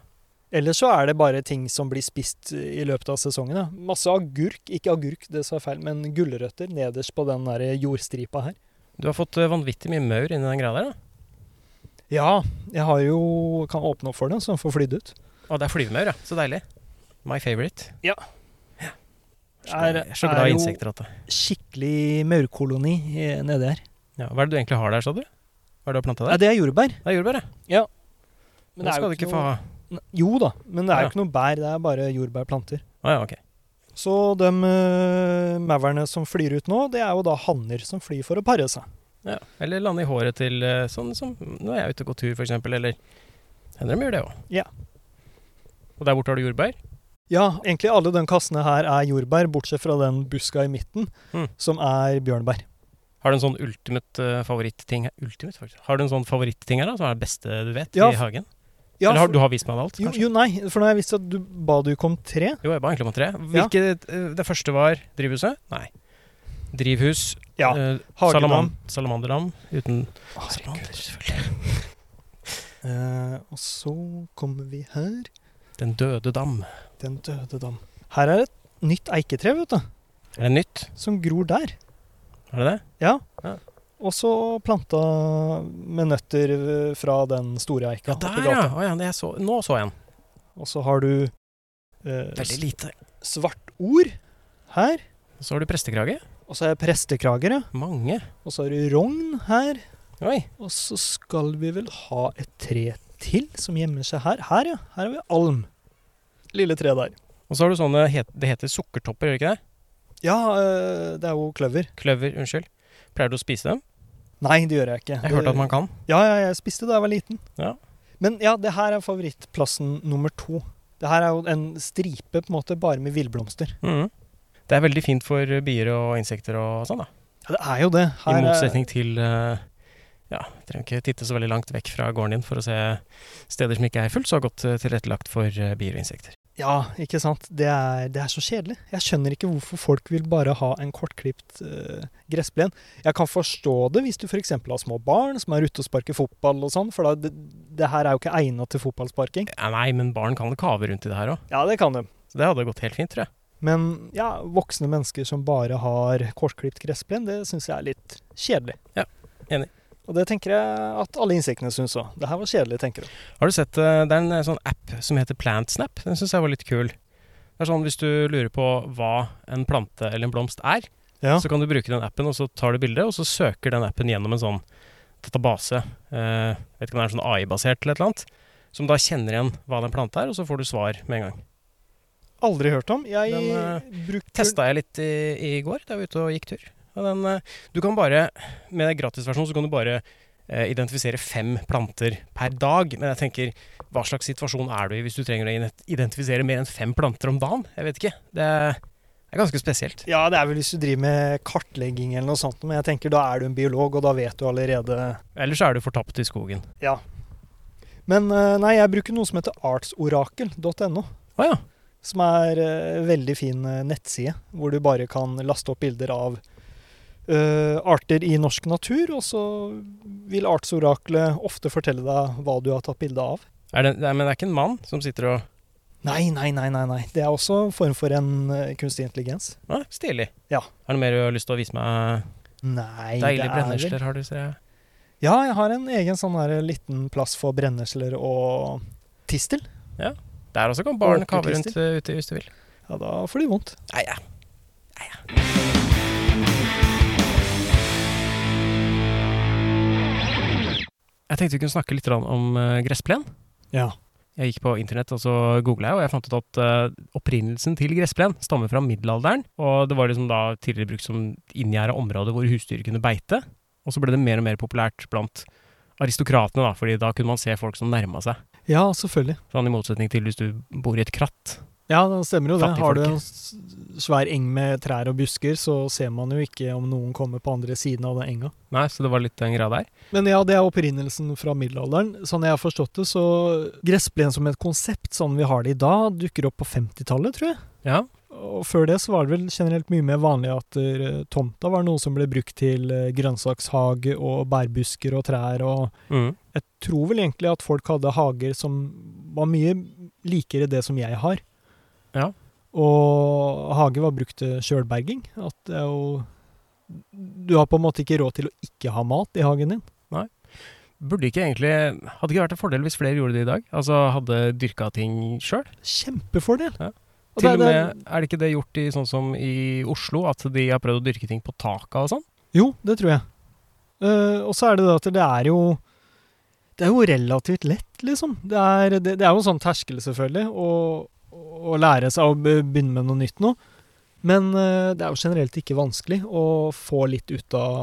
Speaker 3: Eller så er det bare ting som blir spist eh, i løpet av sesongen. Da. Masse agurk, ikke agurk, det sa jeg feil, men gulrøtter nederst på den der jordstripa her.
Speaker 2: Du har fått eh, vanvittig mye maur inni den greia der, da.
Speaker 3: Ja, jeg har jo kan åpne opp for den, så den får flydd ut.
Speaker 2: Å, det er flyvemaur, ja. Så deilig. My favorite.
Speaker 3: Ja.
Speaker 2: Ja. Jeg er så glad- jeg er så
Speaker 3: Er-
Speaker 2: glad
Speaker 3: er
Speaker 2: i
Speaker 3: jo-
Speaker 2: insekter at det
Speaker 3: Skikkelig maurkoloni eh, nedi her.
Speaker 2: ja. Hva er det du egentlig har der, sa du? Hva er det du har planta
Speaker 3: Ja,
Speaker 2: der?
Speaker 3: det er jordbær.
Speaker 2: Det er jordbær, ja. Men det
Speaker 3: er jo
Speaker 2: skal du ikke få
Speaker 3: noe-
Speaker 2: ha.
Speaker 3: Jo da, men det er
Speaker 2: Ja.
Speaker 3: jo ikke noe bær, det er bare jordbærplanter.
Speaker 2: Å ja, ok.
Speaker 3: Så de uh, maurene som flyr ut nå, det er jo da hanner som flyr for å pare seg.
Speaker 2: Ja. Eller lande i håret til eh, sånn som når jeg er ute og går tur, f.eks. Eller hender de gjør det òg.
Speaker 3: Ja.
Speaker 2: Og der borte har du jordbær?
Speaker 3: Ja, egentlig alle de kassene her er jordbær, bortsett fra den buska i midten,
Speaker 2: Mm.
Speaker 3: som er bjørnbær.
Speaker 2: Har du en sånn ultimate eh, favoritting her? Ultimate, faktisk. Har du en sånn favoritting her, da, som er det beste du vet
Speaker 3: Ja,
Speaker 2: i
Speaker 3: for-
Speaker 2: hagen?
Speaker 3: Ja,
Speaker 2: Eller har,
Speaker 3: for-
Speaker 2: du har vist meg alt,
Speaker 3: jo,
Speaker 2: kanskje?
Speaker 3: jo, nei, for nå har jeg visst at du ba du kom tre.
Speaker 2: Jo, jeg ba egentlig om tre. Hvilke, eh, det første var drivhuset? Nei. Drivhus,
Speaker 3: Ja,
Speaker 2: eh,
Speaker 3: hagedam.
Speaker 2: salaman- salamanderdam uten salamander, selvfølgelig.
Speaker 3: Eh, og så kommer vi her.
Speaker 2: Den døde dam.
Speaker 3: Den døde dam. Her er et nytt eiketre, vet du,
Speaker 2: Er det nytt?
Speaker 3: som gror der.
Speaker 2: Er det det?
Speaker 3: Ja.
Speaker 2: Ja.
Speaker 3: Og så planta med nøtter eh, fra den store eika.
Speaker 2: Ja,
Speaker 3: oppi
Speaker 2: der, ja.
Speaker 3: gata.
Speaker 2: Å, ja det jeg så, nå så jeg den.
Speaker 3: Og så har du eh,
Speaker 2: Veldig lite.
Speaker 3: svart ord her.
Speaker 2: Så har du prestekrage.
Speaker 3: Og så er det prestekrager, ja.
Speaker 2: Mange.
Speaker 3: Og så er det rogn her.
Speaker 2: Oi.
Speaker 3: Og så skal vi vel ha et tre til som gjemmer seg her. Her, ja. Her har vi alm. Lille tre der.
Speaker 2: Og så har du sånne het, Det heter sukkertopper, gjør det ikke det?
Speaker 3: Ja, øh, det er jo kløver.
Speaker 2: Kløver, unnskyld. Pleier du å spise dem?
Speaker 3: Nei, det gjør jeg ikke.
Speaker 2: Jeg hørte at man kan.
Speaker 3: Ja, ja, jeg spiste da jeg var liten.
Speaker 2: Ja.
Speaker 3: Men ja, det her er favorittplassen nummer to. Det her er jo en stripe på en måte bare med villblomster.
Speaker 2: Mhm. Det er veldig fint for bier og insekter og sånn, da.
Speaker 3: Ja, det er jo det. Her
Speaker 2: I
Speaker 3: er-
Speaker 2: motsetning til eh, Ja, trenger ikke titte så veldig langt vekk fra gården din for å se steder som ikke er fullt så godt eh, tilrettelagt for eh, bier og insekter.
Speaker 3: Ja, ikke sant. Det er, det er så kjedelig. Jeg skjønner ikke hvorfor folk vil bare ha en kortklipt eh, gressplen. Jeg kan forstå det hvis du f.eks. har små barn som er ute og sparker fotball og sånn, for da, det, det her er jo ikke egna til fotballsparking.
Speaker 2: Ja, nei, men barn kan kave rundt i det her òg.
Speaker 3: Ja, det kan de.
Speaker 2: Så det hadde gått helt fint, tror jeg.
Speaker 3: Men ja, voksne mennesker som bare har kortklipt gressplen, det syns jeg er litt kjedelig.
Speaker 2: Ja, enig.
Speaker 3: Og det tenker jeg at alle insektene syns òg. Det her var kjedelig, tenker de.
Speaker 2: Har du sett, eh, Det er en eh, sånn app som heter Plantsnap. Den syns jeg var litt kul. Det er sånn Hvis du lurer på hva en plante eller en blomst er,
Speaker 3: Ja.
Speaker 2: så kan du bruke den appen, og så tar du bilde, og så søker den appen gjennom en sånn database. Eh, vet ikke om det er sånn AI-basert eller et eller annet. Som da kjenner igjen hva den planta er, og så får du svar med en gang.
Speaker 3: Aldri hørt om. Jeg
Speaker 2: Den, eh,
Speaker 3: bruker
Speaker 2: Testa jeg litt i, i går da jeg var ute og gikk tur. Og den, eh, du kan bare, med gratisversjonen så kan du bare eh, identifisere fem planter per dag. Men jeg tenker, hva slags situasjon er du i hvis du trenger å ident- identifisere mer enn fem planter om dagen? Jeg vet ikke. Det er ganske spesielt.
Speaker 3: Ja, det er vel hvis du driver med kartlegging eller noe sånt, men jeg tenker da er du en biolog, og da vet du allerede
Speaker 2: Ellers så er du fortapt i skogen.
Speaker 3: Ja. Men eh, nei, jeg bruker noe som heter artsorakel.no.
Speaker 2: Å Å ja.
Speaker 3: som er eh, veldig fin eh, nettside, hvor du bare kan laste opp bilder av eh, arter i norsk natur, og så vil artsoraklet ofte fortelle deg hva du har tatt bilde av.
Speaker 2: Er det, nei, men det er ikke en mann som sitter og
Speaker 3: Nei, nei, nei, nei, nei. Det er også en form for en eh, kunstig intelligens.
Speaker 2: Nei, Stilig.
Speaker 3: Ja.
Speaker 2: Er det mer du har lyst til å vise meg?
Speaker 3: Nei,
Speaker 2: Deilige
Speaker 3: det er vel-
Speaker 2: brennesler har du, ser jeg.
Speaker 3: Ja, jeg har en egen sånn her liten plass for brennesler og tistel.
Speaker 2: Der også kan barn
Speaker 3: Åker
Speaker 2: kave rundt
Speaker 3: Christer.
Speaker 2: eh, ute hvis du vil.
Speaker 3: Ja, da får de vondt.
Speaker 2: Nei, ja. Jeg tenkte vi kunne snakke litt grann om eh, gressplen.
Speaker 3: Ja.
Speaker 2: Jeg gikk på internett og så googla jeg, og jeg fant ut at eh, opprinnelsen til gressplen stammer fra middelalderen. Og det var liksom da tidligere brukt som inngjerda område hvor husdyr kunne beite. Og så ble det mer og mer populært blant aristokratene, da, fordi da kunne man se folk som nærma seg.
Speaker 3: Ja, selvfølgelig.
Speaker 2: Sånn i motsetning til hvis du bor i et kratt.
Speaker 3: Ja, det stemmer jo det.
Speaker 2: Fattigfolk.
Speaker 3: Har du en s- svær eng med trær og busker, så ser man jo ikke om noen kommer på andre siden av den enga.
Speaker 2: Nei, så det var litt den greia der.
Speaker 3: Men ja, det er opprinnelsen fra middelalderen. Sånn jeg har forstått det, så gressplen som et konsept, sånn vi har det i dag, dukker opp på 50-tallet, tror jeg.
Speaker 2: Ja,
Speaker 3: Og før det så var det vel generelt mye mer vanlig at eh, tomta var noe som ble brukt til eh, grønnsakshage og bærbusker og trær og
Speaker 2: mm.
Speaker 3: Jeg tror vel egentlig at folk hadde hager som var mye likere det som jeg har.
Speaker 2: Ja.
Speaker 3: Og hage var brukt til sjølberging. At det er jo Du har på en måte ikke råd til å ikke ha mat i hagen din.
Speaker 2: Burde ikke egentlig Hadde ikke vært en fordel hvis flere gjorde det i dag? Altså hadde dyrka ting sjøl?
Speaker 3: Kjempefordel!
Speaker 2: Ja.
Speaker 3: Og
Speaker 2: Til
Speaker 3: det er-
Speaker 2: og
Speaker 3: det
Speaker 2: med
Speaker 3: er-
Speaker 2: er det ikke det gjort i sånn som i Oslo, at de har prøvd å dyrke ting på taka og sånn?
Speaker 3: Jo, det tror jeg. Eh, og så er det det at det er jo Det er jo relativt lett, liksom. Det er, det, det er jo en sånn terskel, selvfølgelig, å, å lære seg å be- begynne med noe nytt nå. Men eh, det er jo generelt ikke vanskelig å få litt ut av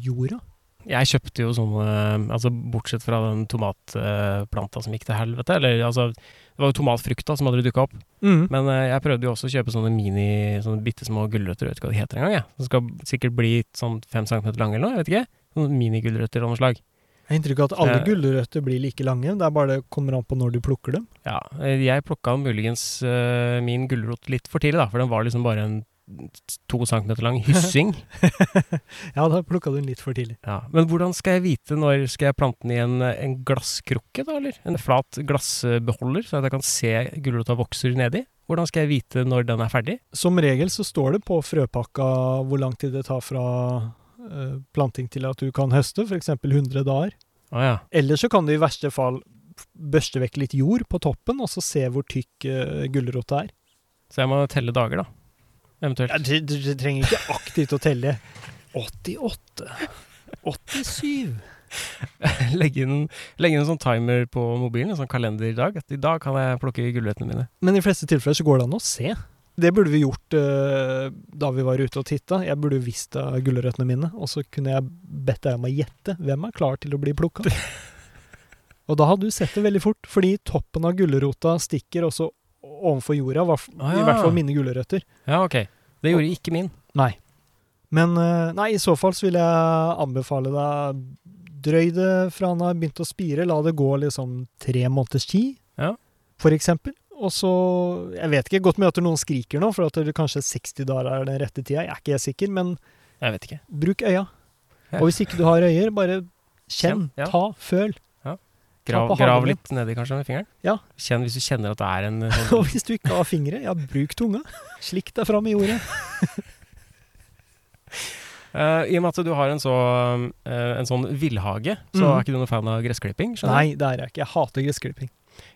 Speaker 3: jorda.
Speaker 2: Jeg kjøpte jo sånne Altså bortsett fra den tomatplanta som gikk til helvete, eller altså Det var jo tomatfrukta som hadde dukka opp.
Speaker 3: Mm.
Speaker 2: Men eh, jeg prøvde jo også å kjøpe sånne mini, sånne bitte små gulrøtter, jeg vet ikke hva det heter engang, jeg. Som skal sikkert bli sånn fem centimeter lange eller noe, jeg vet ikke. Sånne minigulrøtter av noe slag.
Speaker 3: Jeg har inntrykk av at alle
Speaker 2: Eh.
Speaker 3: gulrøtter blir like lange, det er bare det kommer an på når du plukker dem.
Speaker 2: Ja, eh, jeg plukka muligens eh, min gulrot litt for tidlig, da, for den var liksom bare en to centimeter lang hyssing.
Speaker 3: Ja, da plukka du den litt for tidlig.
Speaker 2: Ja, men hvordan skal jeg vite når skal jeg plante den i en, en glasskrukke, da, eller? En flat glassbeholder, så at jeg kan se gulrota vokser nedi? Hvordan skal jeg vite når den er ferdig?
Speaker 3: Som regel så står det på frøpakka hvor lang tid det tar fra eh, planting til at du kan høste, f.eks. 100 dager.
Speaker 2: Å ja.
Speaker 3: Eller så kan du i verste fall børste vekk litt jord på toppen, og så se hvor tykk uh, gulrota er.
Speaker 2: Så jeg må telle dager, da. Eventuelt.
Speaker 3: Ja, du, du, du trenger ikke aktivt å telle. 88. 87.
Speaker 2: legge inn, legge inn en sånn timer på mobilen, en sånn kalenderdag. At i dag kan jeg plukke gulrøttene mine.
Speaker 3: Men i de fleste tilfeller så går det an å se. Det burde vi gjort eh, da vi var ute og titta. Jeg burde visst av gulrøttene mine, og så kunne jeg bedt deg om å gjette hvem er klar til å bli plukka. Og da hadde du sett det veldig fort, fordi toppen av gulrota stikker også ovenfor jorda, hva-
Speaker 2: Ah,
Speaker 3: i
Speaker 2: ja.
Speaker 3: hvert fall mine gulrøtter.
Speaker 2: Ja, ok. Det gjorde ikke min.
Speaker 3: Nei. Men eh, nei, i så fall så vil jeg anbefale deg drøy det fra han har begynt å spire. La det gå liksom tre måneders tid,
Speaker 2: Ja.
Speaker 3: for eksempel. Og så Jeg vet ikke godt med at noen skriker nå, for at det kanskje 60 dager er den rette tida. Jeg er ikke helt sikker, men
Speaker 2: Jeg vet ikke.
Speaker 3: bruk øya.
Speaker 2: Ja.
Speaker 3: Og hvis ikke du har øyer, bare kjenn,
Speaker 2: Kjenn, ja.
Speaker 3: ta, føl.
Speaker 2: Grav,
Speaker 3: Ta på
Speaker 2: grav
Speaker 3: hagen
Speaker 2: litt nedi kanskje med fingeren?
Speaker 3: Ja.
Speaker 2: Kjenn hvis du kjenner at det er en
Speaker 3: Og
Speaker 2: sånn
Speaker 3: hvis du ikke har fingre, ja, bruk tunga. Slikk deg fram i jorda.
Speaker 2: Eh, I og med at du har en, så, eh, en sånn villhage, så
Speaker 3: Mhm.
Speaker 2: er ikke du noen fan av gressklipping? skjønner
Speaker 3: Nei, det er jeg ikke. Jeg hater gressklipping.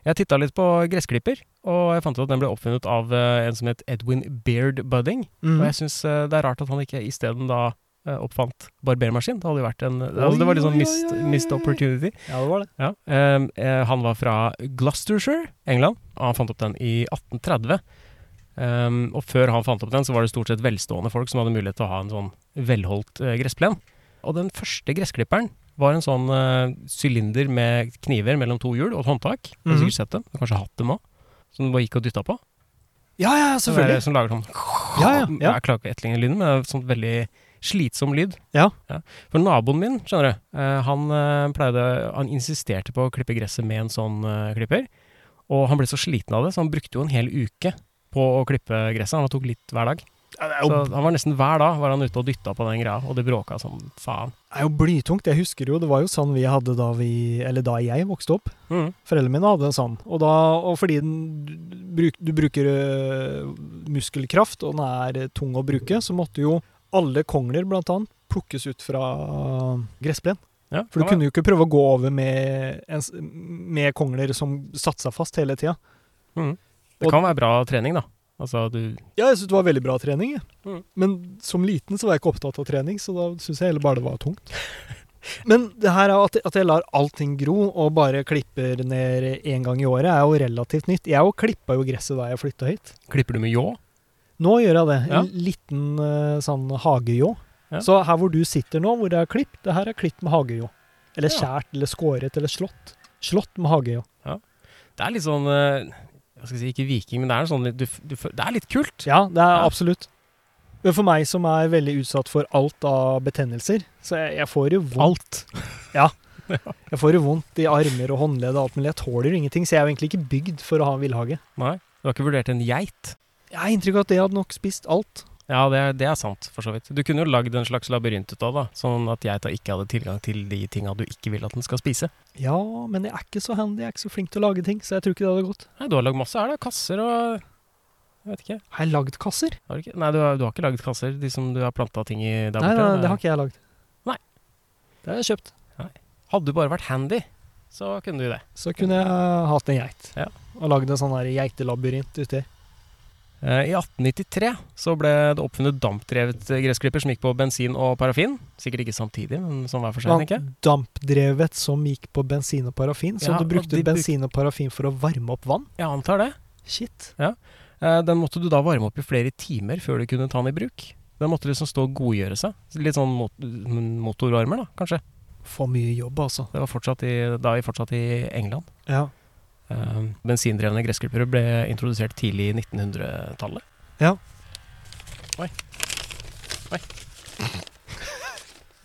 Speaker 2: Jeg titta litt på gressklipper, og jeg fant ut at den ble oppfunnet av eh, en som het Edwin Beard Budding.
Speaker 3: Mm.
Speaker 2: Og jeg syns det er rart at han ikke isteden da eh, oppfant barbermaskin. Det hadde jo vært en altså, Det var litt
Speaker 3: oi,
Speaker 2: sånn
Speaker 3: oi,
Speaker 2: missed,
Speaker 3: oi, oi,
Speaker 2: missed
Speaker 3: oi.
Speaker 2: opportunity.
Speaker 3: Ja, det var det.
Speaker 2: Ja, ehm, eh, han var fra Gloucestershire, England, og han fant opp den i 1830. Ehm, og før han fant opp den, så var det stort sett velstående folk som hadde mulighet til å ha en sånn velholdt eh, gressplen. Og den første gressklipperen var en sånn eh, sylinder med kniver mellom to hjul og et håndtak. Du har
Speaker 3: Mhm.
Speaker 2: sikkert sett dem, du har kanskje hatt dem òg. Som du bare gikk og dytta på.
Speaker 3: Ja, ja,
Speaker 2: Den der
Speaker 3: selvfølgelig.
Speaker 2: Som lager sånn
Speaker 3: Ja, ja, ja.
Speaker 2: Jeg klarer ikke å etterligne lyden, men det er sånn veldig slitsom lyd.
Speaker 3: Ja.
Speaker 2: For naboen min, skjønner du, eh, han eh, pleide Han insisterte på å klippe gresset med en sånn eh, klipper. Og han ble så sliten av det, så han brukte jo en hel uke på å klippe gresset. Han tok litt hver dag. Så han var nesten hver dag var han ute og dytta på den greia, og det bråka som faen.
Speaker 3: Det er jo blytungt, jeg husker jo. Det var jo sånn vi hadde da vi Eller da jeg vokste opp.
Speaker 2: Mm.
Speaker 3: Foreldrene mine hadde en sånn. Og, da, og fordi den, du, bruk, du bruker øh, muskelkraft, og den er øh, tung å bruke, så måtte jo alle kongler, blant annet, plukkes ut fra øh, gressplen.
Speaker 2: Ja,
Speaker 3: For du
Speaker 2: han var-
Speaker 3: kunne jo ikke prøve å gå over med, en, s- med kongler som satt seg fast hele tida.
Speaker 2: mm. Det kan være bra trening, da. Altså du
Speaker 3: Ja, jeg syntes det var veldig bra trening, jeg.
Speaker 2: Mm.
Speaker 3: men som liten så var jeg ikke opptatt av trening, så da syns jeg heller bare det var tungt. Men det her er at, at jeg lar allting gro og bare klipper ned én gang i året, er jo relativt nytt. Jeg òg klippa jo gresset da jeg flytta hit.
Speaker 2: Klipper du med ljå?
Speaker 3: Nå gjør jeg det. En
Speaker 2: Ja.
Speaker 3: liten eh, sånn hagejå.
Speaker 2: Ja.
Speaker 3: Så her hvor du sitter nå, hvor det er klipp, det her er klipp med hagejå. Eller
Speaker 2: Ja.
Speaker 3: skjært, eller skåret, eller slått. Slått med hagejå.
Speaker 2: Det er litt sånn eh, Hva skal jeg si, ikke viking, men det er, sånn, litt- du, f- du, f- det er litt kult.
Speaker 3: Ja, det er
Speaker 2: Ja.
Speaker 3: absolutt. Men for meg som er veldig utsatt for alt av betennelser, så jeg, jeg får jo vondt.
Speaker 2: Alt.
Speaker 3: Jeg får jo vondt i armer og håndledd og alt mulig. Jeg tåler jo ingenting, så jeg er jo egentlig ikke bygd for å ha en villhage.
Speaker 2: Nei. Du har ikke vurdert en geit?
Speaker 3: Jeg har inntrykk av at det hadde nok spist alt.
Speaker 2: Ja, det er, det er sant, for så vidt. Du kunne jo lagd en slags labyrint ut av det, da, sånn at geita ikke hadde tilgang til de tinga du ikke vil at den skal spise.
Speaker 3: Ja, men jeg er ikke så handy, jeg er ikke så flink til å lage ting, så jeg tror ikke det hadde gått.
Speaker 2: Nei, du har lagd masse her, da. Kasser og Jeg vet ikke.
Speaker 3: Har jeg lagd kasser?
Speaker 2: Har du ikke? Nei, du har, du har ikke lagd kasser, de som du har planta ting i der
Speaker 3: Nei, nei,
Speaker 2: borte?
Speaker 3: det har ikke jeg lagd.
Speaker 2: Nei.
Speaker 3: Det har jeg kjøpt.
Speaker 2: Hadde du bare vært handy, så kunne du det.
Speaker 3: Så kunne jeg hatt en geit.
Speaker 2: Ja.
Speaker 3: Og lagd en sånn her geitelabyrint uti.
Speaker 2: Eh, I 1893 så ble det oppfunnet dampdrevet eh, gressklipper som gikk på bensin og parafin. Sikkert ikke samtidig, men som hver for seg, tenker jeg.
Speaker 3: Dampdrevet som gikk på bensin og parafin, så
Speaker 2: Ja,
Speaker 3: du
Speaker 2: og
Speaker 3: brukte
Speaker 2: de bruk-
Speaker 3: bensin og parafin for å varme opp vann?
Speaker 2: Jeg antar det.
Speaker 3: Shit.
Speaker 2: Eh, Den måtte du da varme opp i flere timer før du kunne ta den i bruk. Den måtte liksom stå og godgjøre seg. Litt sånn mot motorvarmer, da, kanskje.
Speaker 3: For mye jobb, altså.
Speaker 2: Det var fortsatt i, da i- fortsatt i England.
Speaker 3: Ja.
Speaker 2: Eh, bensindrevne gressklippere ble introdusert tidlig i 1900-tallet.
Speaker 3: Ja.
Speaker 2: Oi. Oi.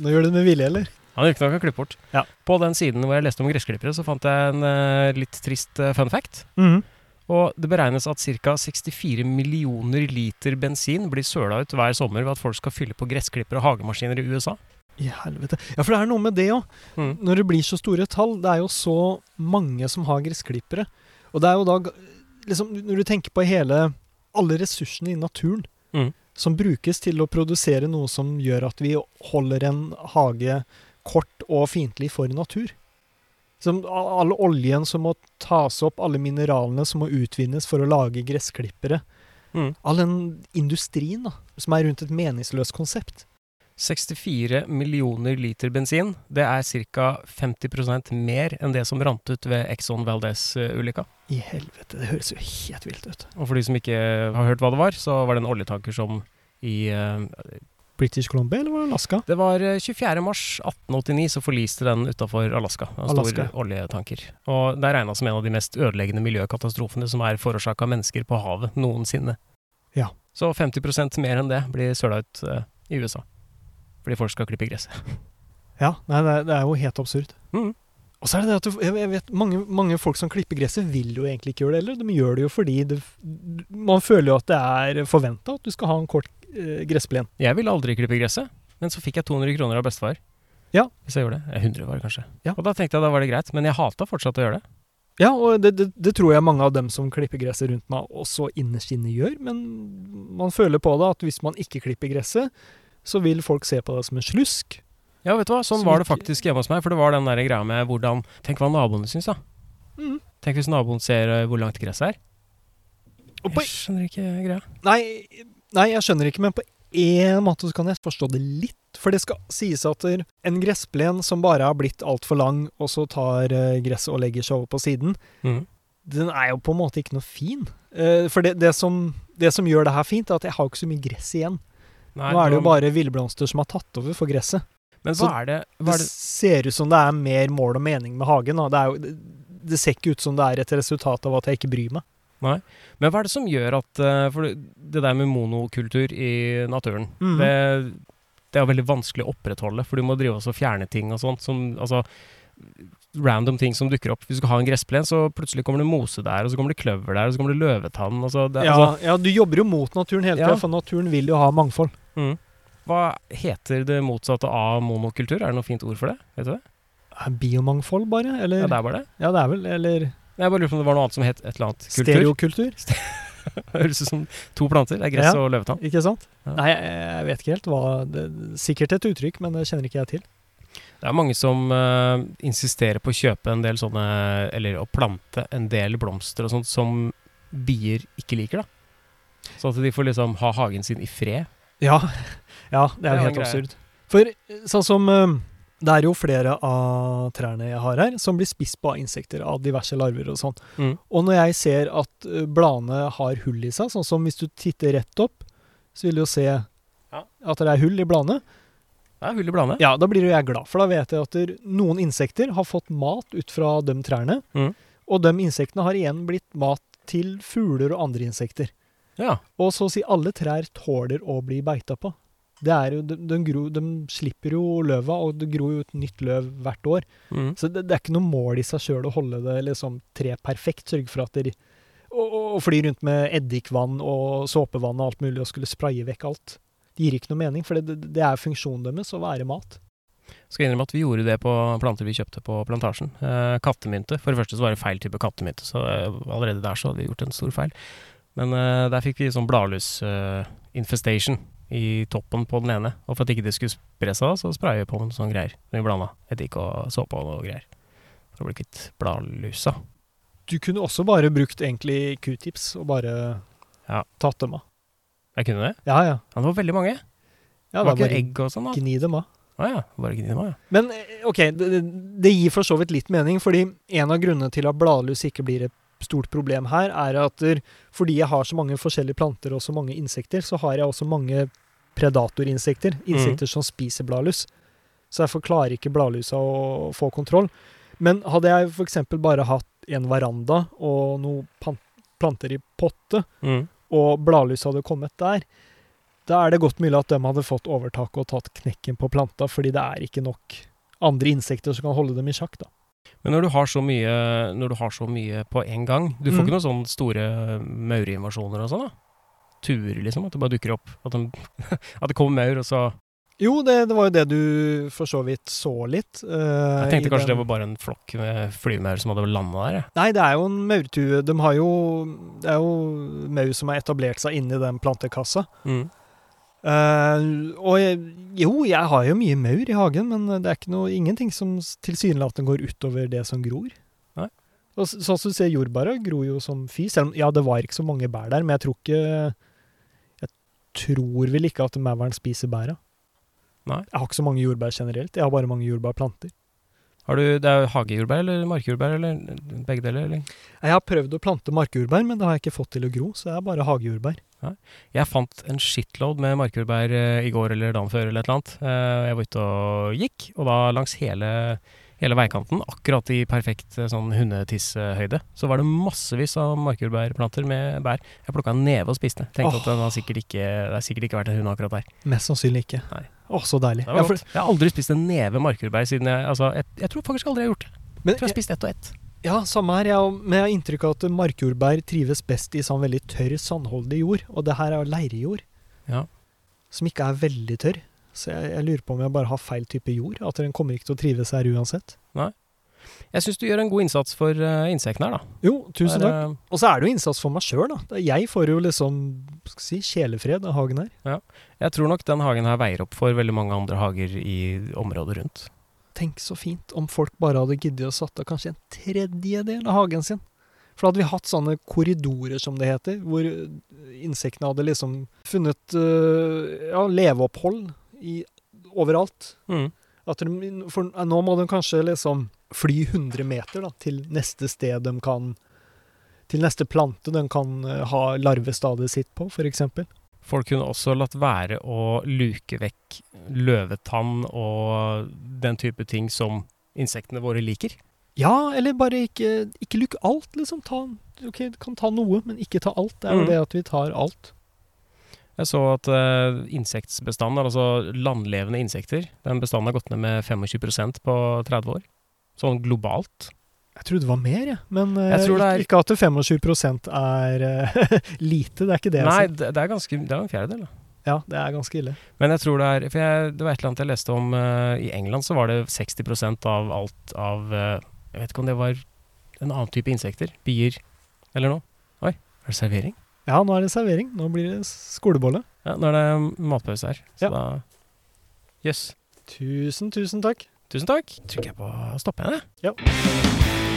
Speaker 3: Nå gjør du det med vilje, eller?
Speaker 2: Han virket nok å klippe bort.
Speaker 3: Ja.
Speaker 2: På den siden hvor jeg leste om gressklippere, så fant jeg en eh, litt trist eh, fun fact.
Speaker 3: Mhm.
Speaker 2: Og det beregnes at ca. 64 millioner liter bensin blir søla ut hver sommer ved at folk skal fylle på gressklippere og hagemaskiner i USA.
Speaker 3: I helvete. Ja, for det er noe med det òg.
Speaker 2: Mm.
Speaker 3: Når det blir så store tall, det er jo så mange som har gressklippere. Og det er jo da g- liksom, Når du tenker på hele alle ressursene i naturen
Speaker 2: Mm.
Speaker 3: som brukes til å produsere noe som gjør at vi holder en hage kort og fiendtlig for natur. Som a- all oljen som må tas opp, alle mineralene som må utvinnes for å lage gressklippere.
Speaker 2: Mm.
Speaker 3: All den industrien da, som er rundt et meningsløst konsept.
Speaker 2: 64 millioner liter bensin, det er ca. 50 mer enn det som rant ut ved Exxon Valdez-ulykka.
Speaker 3: I helvete, det høres jo helt vilt ut.
Speaker 2: Og for de som ikke har hørt hva det var, så var det en oljetanker som i eh,
Speaker 3: British Columbia, eller var det Alaska?
Speaker 2: Det var eh, 24. mars 1889 så forliste den utafor Alaska. En stor
Speaker 3: Alaska.
Speaker 2: oljetanker. Og det er regna som en av de mest ødeleggende miljøkatastrofene som er forårsaka av mennesker på havet noensinne.
Speaker 3: Ja.
Speaker 2: Så 50 mer enn det blir søla ut eh, i USA. Fordi folk skal klippe gresset.
Speaker 3: Ja, nei, det er, det er jo helt absurd.
Speaker 2: Mhm.
Speaker 3: Og så er det det at du, jeg, jeg vet, mange, mange folk som klipper gresset, vil jo egentlig ikke gjøre det heller. De gjør det jo fordi det, man føler jo at det er forventa at du skal ha en kort eh, gressplen.
Speaker 2: Jeg ville aldri klippe gresset, men så fikk jeg 200 kroner av bestefar.
Speaker 3: Ja.
Speaker 2: Hvis jeg gjorde det. Eh, 100 var det kanskje.
Speaker 3: Ja.
Speaker 2: Og da tenkte jeg da var det greit, men jeg hata fortsatt å gjøre det.
Speaker 3: Ja, og det, det, det tror jeg mange av dem som klipper gresset rundt meg, også innerst inne gjør. Men man føler på det at hvis man ikke klipper gresset, så vil folk se på deg som en slusk.
Speaker 2: Ja, vet du hva, sånn
Speaker 3: Som
Speaker 2: var det
Speaker 3: ikke-
Speaker 2: faktisk hjemme hos meg, for det var den der greia med hvordan Tenk hva naboene syns, da.
Speaker 3: Mhm.
Speaker 2: Tenk hvis naboen ser eh, hvor langt gresset er.
Speaker 3: Og på
Speaker 2: Jeg skjønner ikke greia.
Speaker 3: Nei, nei, jeg skjønner ikke, men på én måte så kan jeg forstå det litt. For det skal sies at der- en gressplen som bare har blitt altfor lang, og så tar eh, gresset og legger seg over på siden, den er jo på en måte ikke noe fin. Eh, for det, det, som, det som gjør det her fint, er at jeg har ikke så mye gress igjen.
Speaker 2: Nei,
Speaker 3: Nå er det jo
Speaker 2: hva-
Speaker 3: bare villblomster som har tatt over for gresset.
Speaker 2: Men hva
Speaker 3: så-
Speaker 2: er det, hva
Speaker 3: Det
Speaker 2: er det
Speaker 3: ser ut som det er mer mål og mening med hagen. Da. Det, er jo, det, det ser ikke ut som det er et resultat av at jeg ikke bryr meg.
Speaker 2: Men hva er det som gjør at eh, For det- det der med monokultur i naturen
Speaker 3: Mhm.
Speaker 2: det, det er veldig vanskelig å opprettholde, for du må drive oss og fjerne ting og sånt som Altså random ting som dukker opp. Hvis du skal ha en gressplen, så plutselig kommer det mose der, og så kommer det kløver der, og så kommer det løvetann. Og så det,
Speaker 3: Ja,
Speaker 2: altså,
Speaker 3: ja, du jobber jo mot naturen hele tida,
Speaker 2: Ja.
Speaker 3: for naturen vil jo ha mangfold.
Speaker 2: mm. Hva heter det motsatte av monokultur? Er det noe fint ord for det? Vet du det?
Speaker 3: Er Biomangfold, bare? Eller?
Speaker 2: Ja, det er bare det.
Speaker 3: Ja, det er vel Eller
Speaker 2: Nei, Jeg bare lurer på om det var noe annet som het et eller annet kultur.
Speaker 3: stereokultur?
Speaker 2: Høres ut som to planter. Det er gress
Speaker 3: Ja.
Speaker 2: og løvetann.
Speaker 3: Ikke sant?
Speaker 2: Ja.
Speaker 3: Nei, jeg, jeg vet ikke helt hva det, Sikkert et uttrykk, men det kjenner ikke jeg til.
Speaker 2: Det er mange som eh, insisterer på å kjøpe en del sånne Eller å plante en del blomster og sånt som bier ikke liker, da. Sånn at de får liksom ha hagen sin i fred.
Speaker 3: Ja, ja det
Speaker 2: er
Speaker 3: er
Speaker 2: en
Speaker 3: jo helt
Speaker 2: greie.
Speaker 3: absurd. For eh, sånn som eh, Det er jo flere av trærne jeg har her, som blir spist på av insekter av diverse larver og sånn.
Speaker 2: Mm.
Speaker 3: Og når jeg ser at eh, bladene har hull i seg, sånn som hvis du titter rett opp, så vil du jo se at det er hull i bladene.
Speaker 2: Det er hull i bladene.
Speaker 3: Ja, da blir jo jeg glad, for da vet jeg at der- noen insekter har fått mat ut fra de trærne.
Speaker 2: Mhm.
Speaker 3: Og de insektene har igjen blitt mat til fugler og andre insekter.
Speaker 2: Ja.
Speaker 3: Og så å si alle trær tåler å bli beita på. Det er jo, de, de, gro, de slipper jo løva, og det gror jo et nytt løv hvert år.
Speaker 2: Mm.
Speaker 3: Så det, det er ikke noe mål i seg sjøl å holde det liksom tre perfekt. Sørge for at dere og, og, og fly rundt med eddikvann og såpevann og alt mulig og skulle spraye vekk alt. Det gir ikke noe mening, for det, det- det er funksjonen deres å være mat.
Speaker 2: Skal innrømme at vi gjorde det på planter vi kjøpte på plantasjen. Eh, kattemynte. For det første så var det feil type kattemynte, så eh, allerede der så hadde vi gjort en stor feil. Men eh, der fikk vi sånn bladlusinfestation i toppen på den ene. Og for at ikke det skulle spre seg, da, så spraya vi på med noen sånne greier. Vi blanda eddik og såpe og noe greier. For å bli kvitt bladlusa.
Speaker 3: Du kunne også bare brukt egentlig q-tips og bare
Speaker 2: Ja.
Speaker 3: tatt dem av.
Speaker 2: Jeg kunne det.
Speaker 3: Ja, ja.
Speaker 2: Ja, det var veldig mange.
Speaker 3: ja
Speaker 2: det var
Speaker 3: da
Speaker 2: ikke egg og sånn, da.
Speaker 3: Gni dem av.
Speaker 2: Å ja. Bare gni dem av, ja.
Speaker 3: Men eh, OK, det, det- det gir for så vidt litt mening, fordi en av grunnene til at bladlus ikke blir et stort problem her, er at der- fordi jeg har så mange forskjellige planter og så mange insekter, så har jeg også mange predatorinsekter,
Speaker 2: Mm.
Speaker 3: insekter som spiser bladlus. Så derfor klarer ikke bladlusa å få kontroll. Men hadde jeg f.eks. bare hatt en veranda og noen pan- planter i potte,
Speaker 2: Mm.
Speaker 3: og bladlus hadde kommet der, da er det godt mulig at de hadde fått overtaket og tatt knekken på planta, fordi det er ikke nok andre insekter som kan holde dem i sjakk. da.
Speaker 2: Men når du har så mye, når du har så mye på en gang Du får
Speaker 3: Mm.
Speaker 2: ikke noen sånne store maurinvasjoner og sånn? da? Turer, liksom? At det bare dukker opp? At, de, at det kommer maur, og så
Speaker 3: Jo, det, det var jo det du for så vidt så litt. eh,
Speaker 2: Jeg tenkte kanskje det var bare en flokk med flyvemaur som hadde landa der. jeg.
Speaker 3: Nei, det er jo en maurtue. De har jo, det er jo maur som har etablert seg inni den plantekassa. Eh, og jeg, jo, jeg har jo mye maur i hagen, men det er ikke noe, ingenting som s- tilsynelatende går utover det som gror.
Speaker 2: Nei.
Speaker 3: Og s- sånn som du ser, jordbæra gror jo som fy, selv om ja, det var ikke så mange bær der, men jeg tror ikke Jeg tror vel ikke at mauren spiser bæra.
Speaker 2: Nei.
Speaker 3: Jeg har ikke så mange jordbær generelt, jeg har bare mange jordbærplanter.
Speaker 2: Har du, det er jo hagejordbær eller markjordbær eller begge deler? eller?
Speaker 3: Jeg har prøvd å plante markjordbær, men det har jeg ikke fått til å gro, så det er bare hagejordbær.
Speaker 2: Jeg fant en shitload med markjordbær eh, i går eller dagen før eller et eller annet. Eh, Jeg var ute og gikk, og da langs hele, hele veikanten, akkurat i perfekt eh, sånn hundetissehøyde, så var det massevis av markjordbærplanter med bær. Jeg plukka en neve og spiste. Tenkte
Speaker 3: Åh.
Speaker 2: at den har sikkert ikke, det har sikkert ikke vært en hund akkurat der.
Speaker 3: Mest sannsynlig ikke.
Speaker 2: Nei.
Speaker 3: Å, så deilig.
Speaker 2: Det var
Speaker 3: Ja, for-
Speaker 2: godt. Jeg har aldri spist en neve markjordbær siden jeg Altså, jeg, jeg tror faktisk aldri jeg har gjort det.
Speaker 3: men
Speaker 2: Jeg tror jeg har spist ett og ett.
Speaker 3: Ja, samme her. Jeg, men jeg har inntrykk av at markjordbær trives best i sånn veldig tørr, sandholdig jord. Og det her er jo leirjord,
Speaker 2: Ja.
Speaker 3: som ikke er veldig tørr. Så jeg, jeg lurer på om jeg bare har feil type jord. At den kommer ikke til å trives her uansett.
Speaker 2: Jeg syns du gjør en god innsats for eh, insektene her, da.
Speaker 3: Jo, tusen
Speaker 2: Det
Speaker 3: takk.
Speaker 2: er, eh,
Speaker 3: Og så er det jo innsats for meg sjøl, da. Det er- Jeg får jo liksom skal jeg si, sjelefred av hagen her.
Speaker 2: Jeg tror nok den hagen her veier opp for veldig mange andre hager i området rundt.
Speaker 3: Tenk så fint om folk bare hadde giddet å satt av kanskje en tredjedel av hagen sin. For da hadde vi hatt sånne korridorer, som det heter, hvor øh, insektene hadde liksom funnet øh, ja, leveopphold i, overalt.
Speaker 2: Mm.
Speaker 3: At de, for nå må de kanskje liksom fly 100 meter da, til neste sted de kan Til neste plante de kan øh, ha larvestadiet sitt på, f.eks.
Speaker 2: Folk kunne også latt være å luke vekk løvetann og den type ting som insektene våre liker.
Speaker 3: Ja, eller bare ikke, ikke lukk alt, liksom. Ta, ok, du kan ta noe, men ikke ta alt. Det er jo
Speaker 2: Mm.
Speaker 3: det at vi tar alt.
Speaker 2: Jeg så at uh, insektbestanden, altså landlevende insekter, den bestanden har gått ned med 25 på 30 år. Sånn globalt.
Speaker 3: Jeg trodde det var mer, jeg. Men eh,
Speaker 2: Jeg tror det
Speaker 3: ikke-
Speaker 2: er-
Speaker 3: ikke at 25 er eh, lite, det er ikke det jeg
Speaker 2: Nei,
Speaker 3: sier.
Speaker 2: det, det er ganske Det er en fjerdedel, da.
Speaker 3: Ja, det er ganske ille.
Speaker 2: Men jeg tror det er For jeg, det var et eller annet jeg leste om eh, I England så var det 60 av alt av eh, Jeg vet ikke om det var en annen type insekter. Bier eller noe. Oi, er det servering?
Speaker 3: Ja, nå er det servering. Nå blir det skolebolle.
Speaker 2: Ja, nå er det matpause her. Så
Speaker 3: Ja.
Speaker 2: da Jøss.
Speaker 3: Tusen, tusen takk.
Speaker 2: Tusen takk. Trykker jeg på stopp igjen, jeg?
Speaker 3: Ja.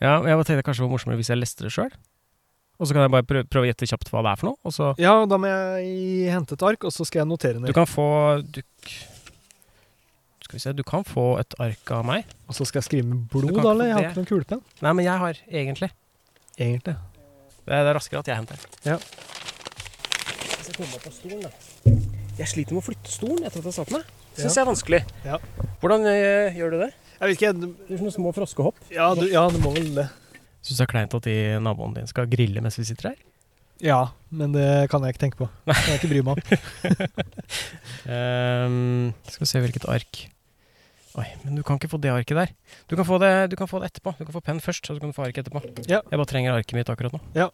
Speaker 2: Ja, men jeg bare tenkte kanskje det var morsommere hvis jeg leste det sjøl. Og så kan jeg bare prøve, prøve å gjette kjapt hva det er for noe, og så
Speaker 3: Ja, da må jeg hente et ark, og så skal jeg notere
Speaker 2: Du
Speaker 3: ned.
Speaker 2: kan få du, Skal vi se, du kan få et ark av meg.
Speaker 3: Og så skal jeg skrive med
Speaker 2: Du
Speaker 3: blod,
Speaker 2: kan
Speaker 3: da,
Speaker 2: ikke få
Speaker 3: eller? Jeg har
Speaker 2: det.
Speaker 3: ikke noen kulepenn.
Speaker 2: Nei, men jeg har, egentlig.
Speaker 3: Egentlig.
Speaker 2: Det er, det er raskere at jeg henter.
Speaker 3: Ja.
Speaker 2: Hvis jeg kommer meg på stolen, da. Jeg sliter med å flytte stolen etter at jeg satt meg. Det
Speaker 3: Ja.
Speaker 2: syns jeg er vanskelig.
Speaker 3: Ja.
Speaker 2: Hvordan eh, gjør du det?
Speaker 3: Jeg vet ikke, jeg-
Speaker 2: Det er sånne små froskehopp.
Speaker 3: ja, du, ja, det må vel det.
Speaker 2: Syns det er kleint at de naboene dine skal grille mens vi sitter her?
Speaker 3: Ja, men det kan jeg ikke tenke på. Det kan jeg ikke bry meg om.
Speaker 2: Ehm, skal vi se hvilket ark Oi, men du kan ikke få det arket der. Du kan få det, du kan få det etterpå. Du kan få penn først, og så kan du få arket etterpå.
Speaker 3: Ja.
Speaker 2: Jeg bare trenger arket mitt akkurat nå.
Speaker 3: Ja.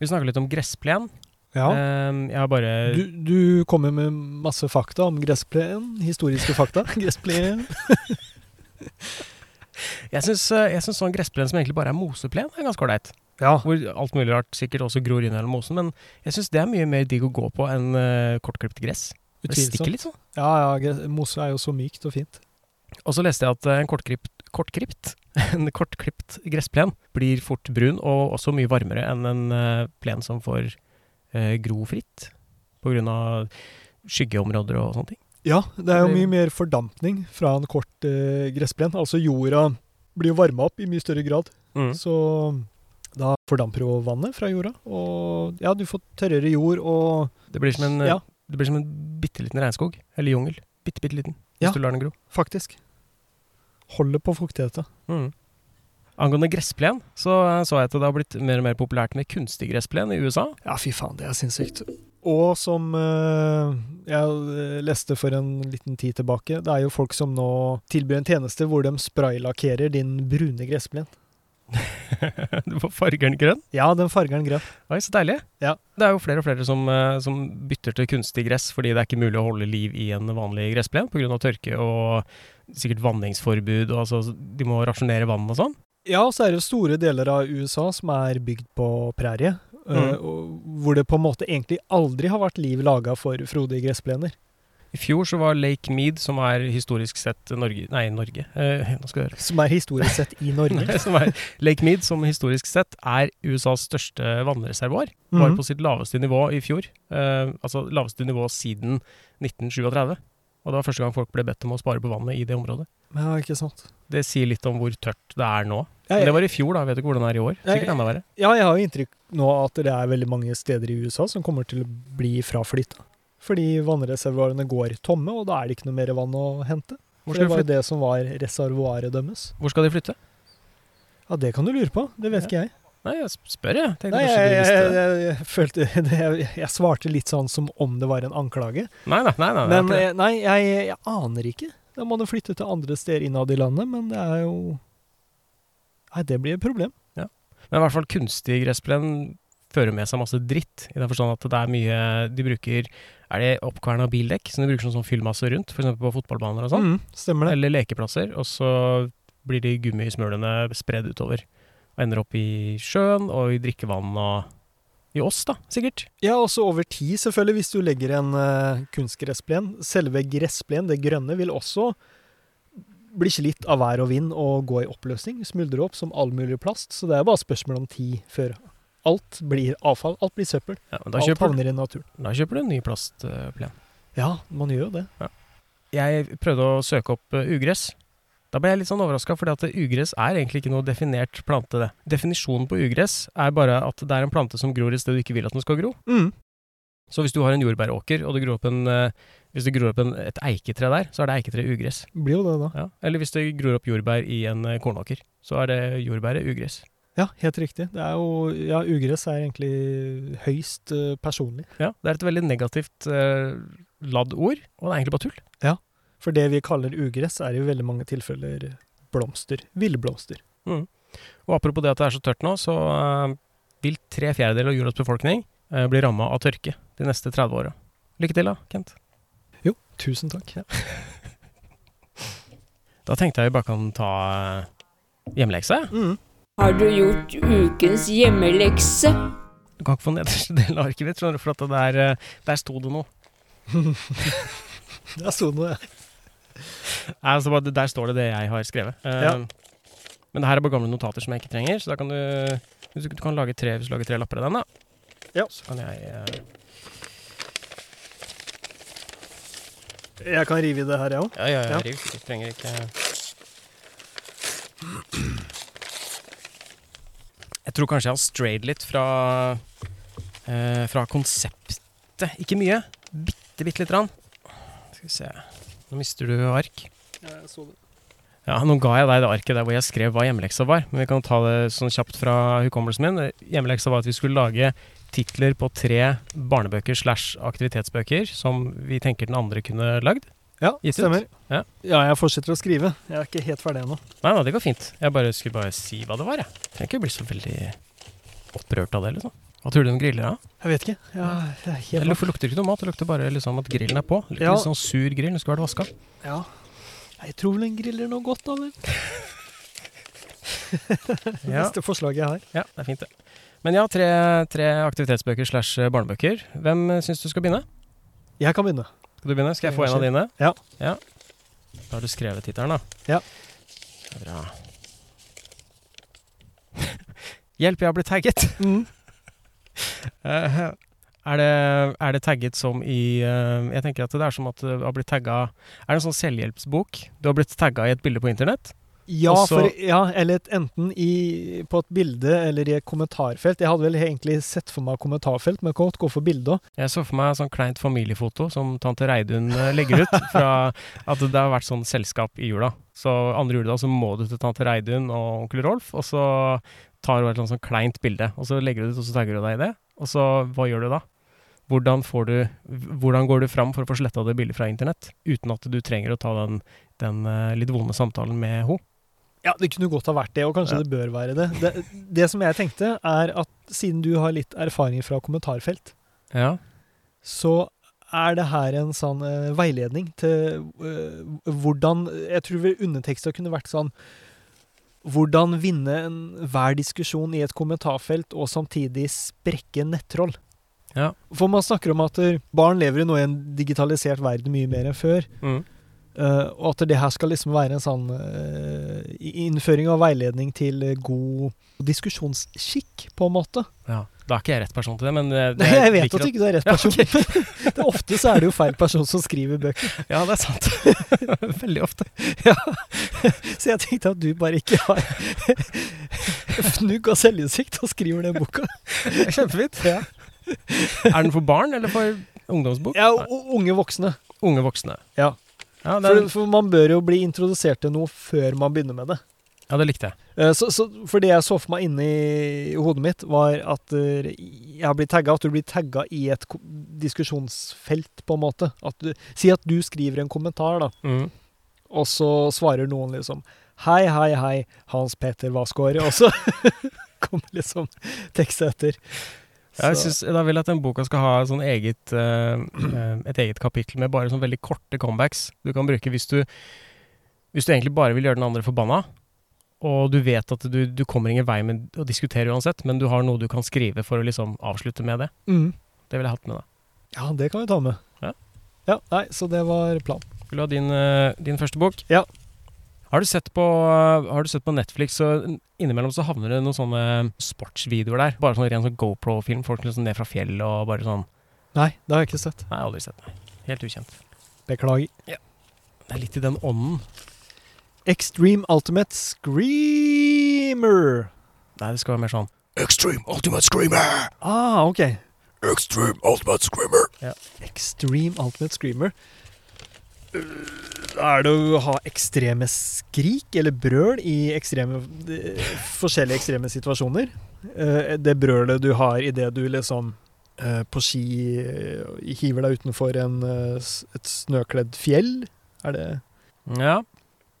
Speaker 2: Vi snakker litt om gressplen.
Speaker 3: Ja.
Speaker 2: Ehm, jeg har bare
Speaker 3: Du, du kommer med masse fakta om gressplenen. Historiske fakta. Gressplenen.
Speaker 2: Jeg syns eh, jeg syns sånn gressplen som egentlig bare er moseplen, er ganske ålreit.
Speaker 3: Ja.
Speaker 2: Hvor alt mulig rart sikkert også gror inn gjennom mosen, men jeg syns det er mye mer digg å gå på enn uh, kortklipt gress. Det stikker
Speaker 3: Utvilsomt.
Speaker 2: litt sånn.
Speaker 3: Ja, ja, gress- mose er jo så mykt og fint.
Speaker 2: Og så leste jeg at eh, en kortklipt, kortklipt en kortklipt gressplen blir fort brun, og også mye varmere enn en eh, plen som får eh, gro fritt pga. skyggeområder og sånne ting.
Speaker 3: Ja, det er jo
Speaker 2: Det blir-
Speaker 3: mye mer fordampning fra en kort eh, gressplen. Altså jorda blir jo varma opp i mye større grad. Så da fordamper jo vannet fra jorda. Og ja, du får tørrere jord og
Speaker 2: Det blir som en, eh,
Speaker 3: Ja.
Speaker 2: det blir som en bitte liten regnskog, eller jungel. Bitte, bitte liten, hvis
Speaker 3: Ja.
Speaker 2: du lar den gro.
Speaker 3: Faktisk. Holder på fuktigheta.
Speaker 2: Angående gressplen, så eh, så jeg at det har blitt mer og mer populært med kunstig gressplen i USA.
Speaker 3: Ja, fy faen, det er sinnssykt. Og som eh, jeg leste for en liten tid tilbake, det er jo folk som nå tilbyr en tjeneste hvor de spraylakkerer din brune gressplen.
Speaker 2: du får fargeren grønn.
Speaker 3: Ja, den farger den grønn.
Speaker 2: Oi, så deilig.
Speaker 3: Ja.
Speaker 2: Det er jo flere og flere som, eh, som bytter til kunstig gress fordi det er ikke mulig å holde liv i en vanlig gressplen pga. tørke og sikkert vanningsforbud, og altså de må rasjonere vann og sånn.
Speaker 3: Ja, og så er det jo store deler av USA som er bygd på prærie. eh,
Speaker 2: Mm.
Speaker 3: og hvor det på en måte egentlig aldri har vært liv laga for frodige gressplener.
Speaker 2: I fjor så var Lake Mead, som er historisk sett Norge Nei, Norge. Eh, nå skal jeg høre.
Speaker 3: Som er historisk sett i Norge.
Speaker 2: Nei, som er, Lake Mead, som historisk sett er USAs største vannreservoar, var
Speaker 3: Mhm.
Speaker 2: på sitt laveste nivå i fjor. Eh, altså laveste nivå siden 1937. Og det var første gang folk ble bedt om å spare på vannet i det området.
Speaker 3: Ja, ikke sant.
Speaker 2: Det sier litt om hvor tørt det er nå.
Speaker 3: Ja,
Speaker 2: Men det
Speaker 3: jeg,
Speaker 2: var i fjor, da. Jeg vet ikke hvordan det er i år.
Speaker 3: Nei,
Speaker 2: Sikkert enda verre.
Speaker 3: ja, jeg har jo inntrykk nå at det er veldig mange steder i USA som kommer til å bli fraflytta. Fordi vannreservoarene går tomme, og da er det ikke noe mer vann å hente.
Speaker 2: Hvor skal,
Speaker 3: For det
Speaker 2: de
Speaker 3: var jo
Speaker 2: flytte?
Speaker 3: det som var reservoaret deres.
Speaker 2: Hvor skal de flytte?
Speaker 3: Ja, det kan du lure på. Det vet
Speaker 2: Ja.
Speaker 3: ikke jeg.
Speaker 2: Nei, jeg spør, jeg. Tenkte
Speaker 3: Nei,
Speaker 2: kanskje
Speaker 3: jeg,
Speaker 2: du
Speaker 3: jeg,
Speaker 2: visste det.
Speaker 3: jeg, jeg følte det, jeg, jeg svarte litt sånn som om det var en anklage.
Speaker 2: Nei, nei, nei. nei, nei, det
Speaker 3: Men
Speaker 2: er ikke det.
Speaker 3: eh, nei, jeg, jeg aner ikke. Da må det flytte til andre steder innad i landet, men det er jo Nei, det blir et problem.
Speaker 2: Men i hvert fall kunstig gressplen fører med seg masse dritt. I den forstand at det er mye de bruker Er det oppkverna bildekk som de bruker som sånn fyllmasse rundt? F.eks. på fotballbaner og sånn.
Speaker 3: Mm, stemmer det.
Speaker 2: Eller lekeplasser. Og så blir de gummismulene spredd utover. Og ender opp i sjøen og i drikkevann og i oss, da, sikkert.
Speaker 3: Ja, også over tid, selvfølgelig, hvis du legger en eh, kunstgressplen. Selve gressplen, det grønne, vil også bli slitt av vær og vind og gå i oppløsning. Smuldre opp som all mulig plast. Så det er bare spørsmål om tid før alt blir avfall. Alt blir søppel.
Speaker 2: Ja, men da
Speaker 3: Alt
Speaker 2: kjøper,
Speaker 3: havner i naturen.
Speaker 2: da kjøper du en ny plastplen.
Speaker 3: Ja, man gjør jo det.
Speaker 2: Jeg prøvde å søke opp eh, ugress. Da ble jeg litt sånn overraska, for ugress er egentlig ikke noe definert plante. det. Definisjonen på ugress er bare at det er en plante som gror i sted du ikke vil at den skal gro.
Speaker 3: Mm.
Speaker 2: Så hvis du har en jordbæråker, og det gror opp, en, eh, hvis det gror opp en, et eiketre der, så er det eiketre ugress.
Speaker 3: Blir jo det, da.
Speaker 2: Ja. Eller hvis det gror opp jordbær i en eh, kornåker, så er det jordbæret ugress.
Speaker 3: Ja, helt riktig. Det er jo Ja, ugress er egentlig høyst eh, personlig.
Speaker 2: Ja, Det er et veldig negativt eh, ladd ord, og det er egentlig bare tull.
Speaker 3: For det vi kaller ugress, er i veldig mange tilfeller blomster. Villblomster.
Speaker 2: Og apropos det at det er så tørt nå, så eh, vil tre fjerdedeler av jordas befolkning eh, bli ramma av tørke de neste 30 åra. Lykke til da, Kent.
Speaker 3: Jo, tusen takk.
Speaker 2: Da tenkte jeg vi bare kan ta eh, hjemmelekse.
Speaker 3: Mm.
Speaker 1: Har du gjort ukens hjemmelekse?
Speaker 2: Du kan ikke få nederste delen av arket ditt, skjønner du, for at det er, eh, der sto det noe.
Speaker 3: Der sto det noe, ja.
Speaker 2: Nei, altså bare, Der står det det jeg har skrevet. Eh,
Speaker 3: Ja.
Speaker 2: Men det her er bare gamle notater som jeg ikke trenger, så da kan du hvis Du, du kan lage tre, hvis du lager tre lapper av den, da.
Speaker 3: Ja.
Speaker 2: Så kan jeg eh,
Speaker 3: Jeg kan rive i det her, jeg òg.
Speaker 2: Ja, ja, ja.
Speaker 3: Ja.
Speaker 2: Riv. Du trenger ikke Jeg tror kanskje jeg har strayed litt fra eh, Fra konseptet. Ikke mye. Bitte, bitte lite grann. Skal vi se Nå mister du ark. Ja, Nå ga jeg deg det arket der hvor jeg skrev hva hjemmeleksa var, men vi kan ta det sånn kjapt fra hukommelsen min. Hjemmeleksa var at vi skulle lage titler på tre barnebøker slash aktivitetsbøker som vi tenker den andre kunne lagd.
Speaker 3: Ja,
Speaker 2: Gitt ut?
Speaker 3: stemmer.
Speaker 2: Ja.
Speaker 3: ja, jeg fortsetter å skrive. Jeg er ikke helt ferdig ennå.
Speaker 2: Nei, nei, det går fint. Jeg bare skulle bare si hva det var, jeg. Jeg Trenger ikke bli så veldig opprørt av det, liksom. Hva tror du den griller av?
Speaker 3: Jeg vet ikke. Ja, jeg er
Speaker 2: Det
Speaker 3: helt
Speaker 2: luk- lukter ikke noe mat, det lukter bare liksom at grillen er på. Litt,
Speaker 3: Ja.
Speaker 2: litt sånn sur grill, den skulle vært vaska.
Speaker 3: Ja. Jeg tror vel den griller noe godt, da vel.
Speaker 2: Ja.
Speaker 3: Neste forslag jeg har.
Speaker 2: ja, det er fint, det. Men ja, tre, tre aktivitetsbøker slash eh, barnebøker. Hvem eh, syns du skal begynne?
Speaker 3: Jeg kan begynne.
Speaker 2: Skal du begynne? Skal jeg få en av dine?
Speaker 3: Ja.
Speaker 2: ja. Da har du skrevet tittelen, da.
Speaker 3: Ja.
Speaker 2: Det er bra. Hjelp, jeg har blitt tagget!
Speaker 3: Mm.
Speaker 2: Eh, Er det, er det tagget som i eh, Jeg tenker at det er som at du har blitt tagga Er det en sånn selvhjelpsbok? Du har blitt tagga i et bilde på internett?
Speaker 3: Ja,
Speaker 2: Og så-
Speaker 3: for, ja eller et, enten i, på et bilde eller i et kommentarfelt. Jeg hadde vel egentlig sett for meg kommentarfelt, men kan godt gå for bilde òg.
Speaker 2: Jeg så for meg sånn kleint familiefoto som tante Reidun eh, legger ut. Fra at det har vært sånn selskap i jula. Så andre juledag så må du til tante Reidun og onkel Rolf, og så tar hun et eller annet sånn kleint bilde. Og så legger du det ut, og så tagger du deg i det. Og så hva gjør du da? Hvordan, får du, hvordan går du fram for å få sletta det bildet fra internett uten at du trenger å ta den, den eh, litt vonde samtalen med henne?
Speaker 3: Ja, det kunne godt ha vært det, og kanskje
Speaker 2: Ja.
Speaker 3: det bør være det. det. Det som jeg tenkte, er at siden du har litt erfaring fra kommentarfelt,
Speaker 2: Ja.
Speaker 3: så er det her en sånn eh, veiledning til eh, hvordan Jeg tror vel underteksta kunne vært sånn Hvordan vinne enhver diskusjon i et kommentarfelt og samtidig sprekke nettroll.
Speaker 2: Ja.
Speaker 3: For man snakker om at eh, barn lever jo nå i en digitalisert verden mye mer enn før.
Speaker 2: Mm.
Speaker 3: Eh, og at det her skal liksom være en sånn eh, innføring og veiledning til eh, god diskusjonsskikk, på en måte.
Speaker 2: ja. Da er ikke jeg rett person til det, men eh, det
Speaker 3: Nei, jeg vet
Speaker 2: liker
Speaker 3: at du ikke er rett person. det er ofte så er det jo feil person som skriver bøker.
Speaker 2: Ja, det er sant. Veldig ofte.
Speaker 3: Så jeg tenkte at du bare ikke har fnugg av selvinnsikt og skriver den boka.
Speaker 2: Kjempefint.
Speaker 3: Ja.
Speaker 2: Er den for barn eller for ungdomsbok?
Speaker 3: Ja,
Speaker 2: Nei,
Speaker 3: og unge voksne.
Speaker 2: Unge voksne.
Speaker 3: Ja.
Speaker 2: Ja det,
Speaker 3: For, for man bør jo bli introdusert til noe før man begynner med det.
Speaker 2: ja, det likte jeg.
Speaker 3: Eh, Så, så for det jeg så for meg inni hodet mitt, var at eh, jeg blir tagga, at du blir tagga i et ko- diskusjonsfelt, på en måte. At du, si at du skriver en kommentar, da, og så svarer noen liksom Hei, hei, hei, Hans Peter Vasgaard. Og så kommer liksom teksten etter.
Speaker 2: Ja, jeg
Speaker 3: Så-
Speaker 2: synes, da vil jeg at den boka skal ha sånn eget, eh, eh, et eget kapittel med bare sånn veldig korte comebacks du kan bruke hvis du, hvis du egentlig bare vil gjøre den andre forbanna. Og du vet at du, du kommer ingen vei med å diskutere uansett, men du har noe du kan skrive for å liksom avslutte med det.
Speaker 3: mm.
Speaker 2: Det ville jeg hatt med deg.
Speaker 3: Ja, det kan vi ta med.
Speaker 2: Ja.
Speaker 3: Ja, nei, så det var planen.
Speaker 2: Vil du ha din, eh, din første bok?
Speaker 3: Ja.
Speaker 2: Har du sett på, eh, har du sett på Netflix, så innimellom så havner det noen sånne sportsvideoer der. Bare sånn ren sånn GoPro-film. Folk liksom ned fra fjell og bare sånn.
Speaker 3: Nei, det har jeg ikke sett.
Speaker 2: Nei, aldri sett. Nei. Helt ukjent.
Speaker 3: Beklager.
Speaker 2: Det er litt i den ånden.
Speaker 3: Extreme Ultimate Screamer.
Speaker 2: Nei, det skal være mer sånn
Speaker 4: Extreme Ultimate Screamer!
Speaker 3: Ah, ok.
Speaker 4: Extreme Ultimate Screamer!
Speaker 3: Extreme Ultimate Screamer. Øh, Er det å ha ekstreme skrik eller brøl i ekstreme, eh, forskjellige ekstreme situasjoner? Eh, Det brølet du har idet du liksom eh, på ski eh, hiver deg utenfor en, eh, s- et snøkledd fjell? Er det
Speaker 2: Ja.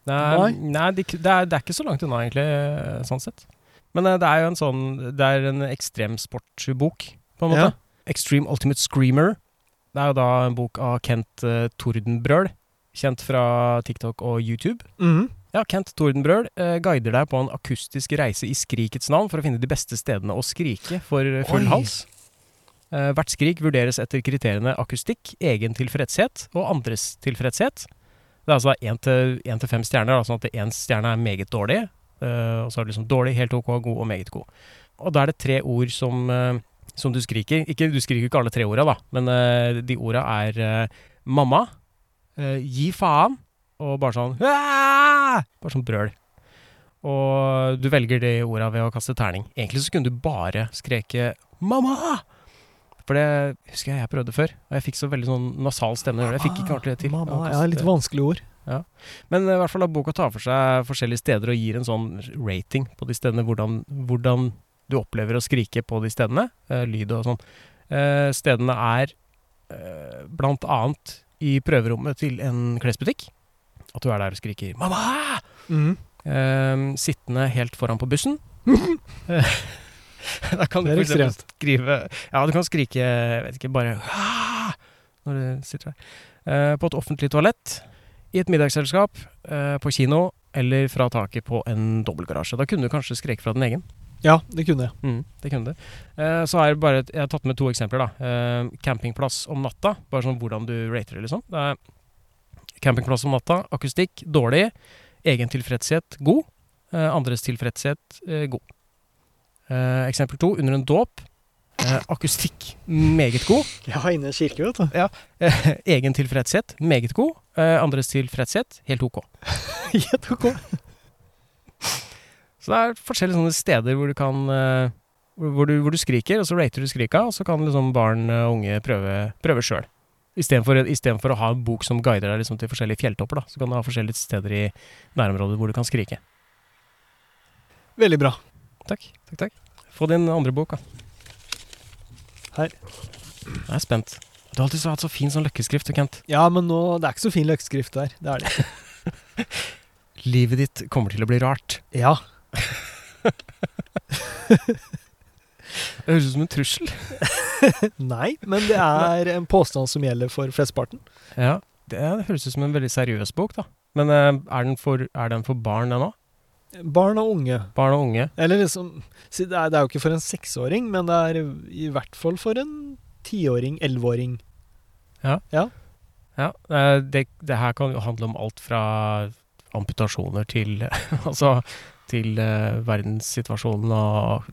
Speaker 2: Det er,
Speaker 3: Nei.
Speaker 2: nei, det, det, er, det er ikke så langt unna, egentlig, eh, sånn sett. Men eh, det er jo en sånn Det er en ekstremsportbok, på en måte.
Speaker 3: Ja.
Speaker 2: Extreme Ultimate Screamer. Det er jo da en bok av Kent eh, Tordenbrøl, kjent fra TikTok og YouTube.
Speaker 3: Mhm.
Speaker 2: Ja, Kent Tordenbrøl eh, guider deg på en akustisk reise i skrikets navn for å finne de beste stedene å skrike for full
Speaker 3: Oi.
Speaker 2: hals. Eh, hvert skrik vurderes etter kriteriene akustikk, egen tilfredshet og andres tilfredshet. Det er altså én til- én til fem stjerner, da, sånn at én stjerne er meget dårlig. eh, og så er det liksom dårlig, helt ok, god og meget god. Og da er det tre ord som, eh, som du skriker. Ikke, du skriker ikke alle tre orda, da, men eh, de orda er eh, mamma, eh, gi faen, og bare sånn «Aah!» Bare sånn brøl. Og du velger de orda ved å kaste terning. Egentlig så kunne du bare skreke 'mamma'! For det husker jeg jeg prøvde før, og jeg fikk så veldig sånn nasal stemme. Jeg fikk ikke ordentlig til.
Speaker 3: Ah, Mamma,
Speaker 2: å
Speaker 3: ja,
Speaker 2: kaste-
Speaker 3: litt vanskelige ord.
Speaker 2: men eh, i hvert fall da boka tar for seg forskjellige steder og gir en sånn rating på de stedene, hvordan, hvordan du opplever å skrike på de stedene, eh, lyd og sånn. Eh, stedene er eh, blant annet i prøverommet til en klesbutikk. At du er der og skriker 'mamma!'
Speaker 3: Mhm.
Speaker 2: Eh, sittende helt foran på bussen. Eh, da kan du
Speaker 3: Det
Speaker 2: for
Speaker 3: er
Speaker 2: eksempel
Speaker 3: ekstremt.
Speaker 2: skrive Ja, du kan skrike, jeg vet ikke, bare «Ah!» når du sitter der. Eh, på et offentlig toalett, i et middagsselskap, eh, på kino eller fra taket på en dobbeltgarasje. Da kunne du kanskje skreke fra din egen.
Speaker 3: Ja, det kunne jeg.
Speaker 2: Mm, det kunne du. Eh, så er det bare, et- jeg har tatt med to eksempler. da. Eh, campingplass om natta, bare sånn hvordan du rater det, liksom. Det er campingplass om natta, akustikk dårlig, egen tilfredshet god, eh, andres tilfredshet eh, god. Eh, eksempel to, under en dåp, eh, akustikk meget god,
Speaker 3: Jeg var inne i en kirke, vet du.
Speaker 2: eh, egen tilfredshet meget god, eh, andres tilfredshet helt ok.
Speaker 3: Gjett ok.
Speaker 2: Så det er forskjellige sånne steder hvor du kan eh, hvor, hvor, du, hvor du skriker, og så rater du skrika, og så kan liksom barn eh, og unge prøve, prøve sjøl. Istedenfor istedenfor å ha en bok som guider deg liksom til forskjellige fjelltopper, da. så kan du ha forskjellige steder i nærområdet hvor du kan skrike.
Speaker 3: Veldig bra.
Speaker 2: Takk. takk, takk. Få din andre bok, da.
Speaker 3: Her.
Speaker 2: Jeg er spent. Du har alltid så hatt så fin sånn løkkeskrift, du, Kent.
Speaker 3: Ja, men nå, det er ikke så fin løkkeskrift der. Det er det. ikke.
Speaker 2: Livet ditt kommer til å bli rart.
Speaker 3: Ja.
Speaker 2: Det høres ut som en trussel.
Speaker 3: Nei, men det er en påstand som gjelder for flesteparten.
Speaker 2: Ja, Det høres ut som en veldig seriøs bok, da. Men eh, er den for, er den for barn, den òg?
Speaker 3: Barn og unge.
Speaker 2: Barn og unge?
Speaker 3: Eller liksom si det er, det er jo ikke for en seksåring, men det er i hvert fall for en tiåring, elleveåring.
Speaker 2: Ja, eh, det, det her kan jo handle om alt fra amputasjoner til Altså til eh, verdenssituasjonen og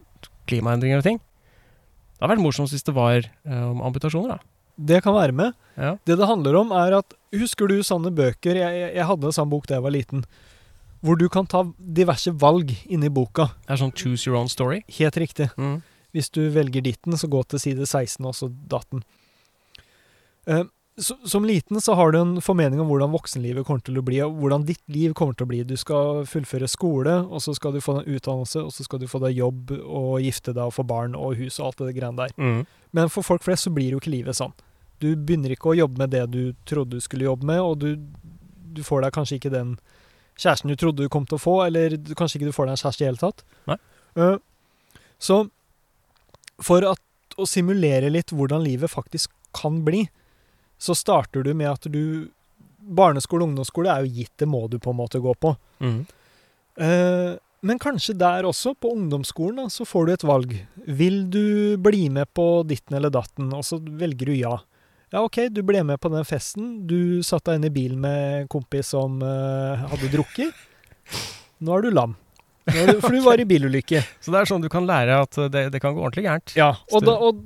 Speaker 2: klimaendringer og ting. Det hadde vært morsomt hvis det var eh, om amputasjoner, da.
Speaker 3: Det kan være med.
Speaker 2: Ja.
Speaker 3: Det det handler om, er at Husker du sånne bøker? Jeg, jeg, jeg hadde en sånn bok da jeg var liten. Hvor du kan ta diverse valg inni boka.
Speaker 2: Det er sånn choose your own story.
Speaker 3: Helt riktig.
Speaker 2: Mm.
Speaker 3: Hvis du velger ditten, så gå til side 16, og så datten. Eh, så, som liten så har du en formening om hvordan voksenlivet kommer til å bli, og hvordan ditt liv kommer til å bli. Du skal fullføre skole, og så skal du få deg utdannelse, og så skal du få deg jobb og gifte deg og få barn og hus og alt det greiene der.
Speaker 2: Mm.
Speaker 3: Men for folk flest så blir jo ikke livet sånn. Du begynner ikke å jobbe med det du trodde du skulle jobbe med, og du, du får deg kanskje ikke den kjæresten du trodde du kom til å få, eller du, kanskje ikke du får deg en kjæreste i det hele tatt.
Speaker 2: Nei.
Speaker 3: Eh, så for at, å simulere litt hvordan livet faktisk kan bli, så starter du med at du Barneskole og ungdomsskole er jo gitt, det må du på en måte gå på.
Speaker 2: Mm.
Speaker 3: Eh, Men kanskje der også, på ungdomsskolen, da, så får du et valg. Vil du bli med på ditten eller datten? Og så velger du ja. Ja, OK, du ble med på den festen. Du satt deg inn i bilen med en kompis som eh, hadde drukket. Nå er du lam. Nå er du, for du var i bilulykke.
Speaker 2: Så det er sånn du kan lære at det, det kan gå ordentlig gærent.
Speaker 3: Ja, og, da, og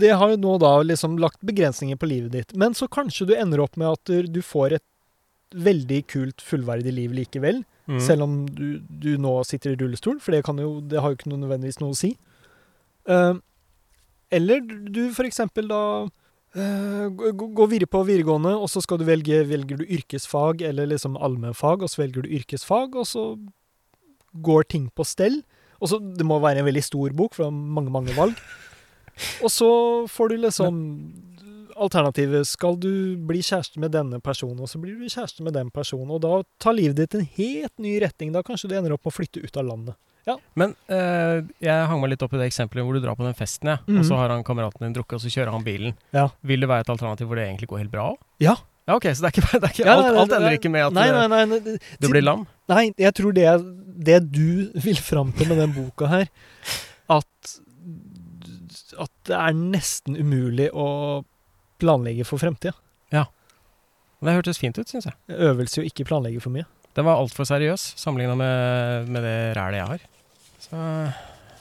Speaker 3: det har jo nå da liksom lagt begrensninger på livet ditt. Men så kanskje du ender opp med at du får et veldig kult, fullverdig liv likevel.
Speaker 2: Mm.
Speaker 3: Selv om du, du nå sitter i rullestol, for det, kan jo, det har jo ikke noe nødvendigvis noe å si. Eh, eller du for eksempel da eh, gå- gå- gå videre på videregående, og så skal du velge, velger du yrkesfag eller liksom allmennfag, og så velger du yrkesfag, og så går ting på stell. Og så, det må være en veldig stor bok, for det er mange, mange valg. Og så får du liksom alternativet skal du bli kjæreste med denne personen, og så blir du kjæreste med den personen, og da tar livet ditt en helt ny retning. Da kanskje du ender opp med å flytte ut av landet.
Speaker 2: Men eh, jeg hang meg litt opp i det eksempelet hvor du drar på den festen, jeg, og
Speaker 3: Mhm.
Speaker 2: så har han kameraten din drukket, og så kjører han bilen.
Speaker 3: Ja.
Speaker 2: Vil det være et alternativ hvor det egentlig går helt bra òg?
Speaker 3: Ja.
Speaker 2: Ja, ok, så det er ikke, det er ikke
Speaker 3: Ja,
Speaker 2: alt,
Speaker 3: nei, nei,
Speaker 2: alt ender
Speaker 3: nei,
Speaker 2: ikke med at
Speaker 3: Nei, nei,
Speaker 2: eh,
Speaker 3: nei. nei,
Speaker 2: du blir lam?
Speaker 3: nei jeg tror det, det du vil fram til med den boka her, at, at det er nesten umulig å planlegge for fremtida.
Speaker 2: Det hørtes fint ut, syns jeg.
Speaker 3: Øvelse i å ikke planlegge for mye.
Speaker 2: Den var altfor seriøs sammenligna med, med det rælet jeg har. Så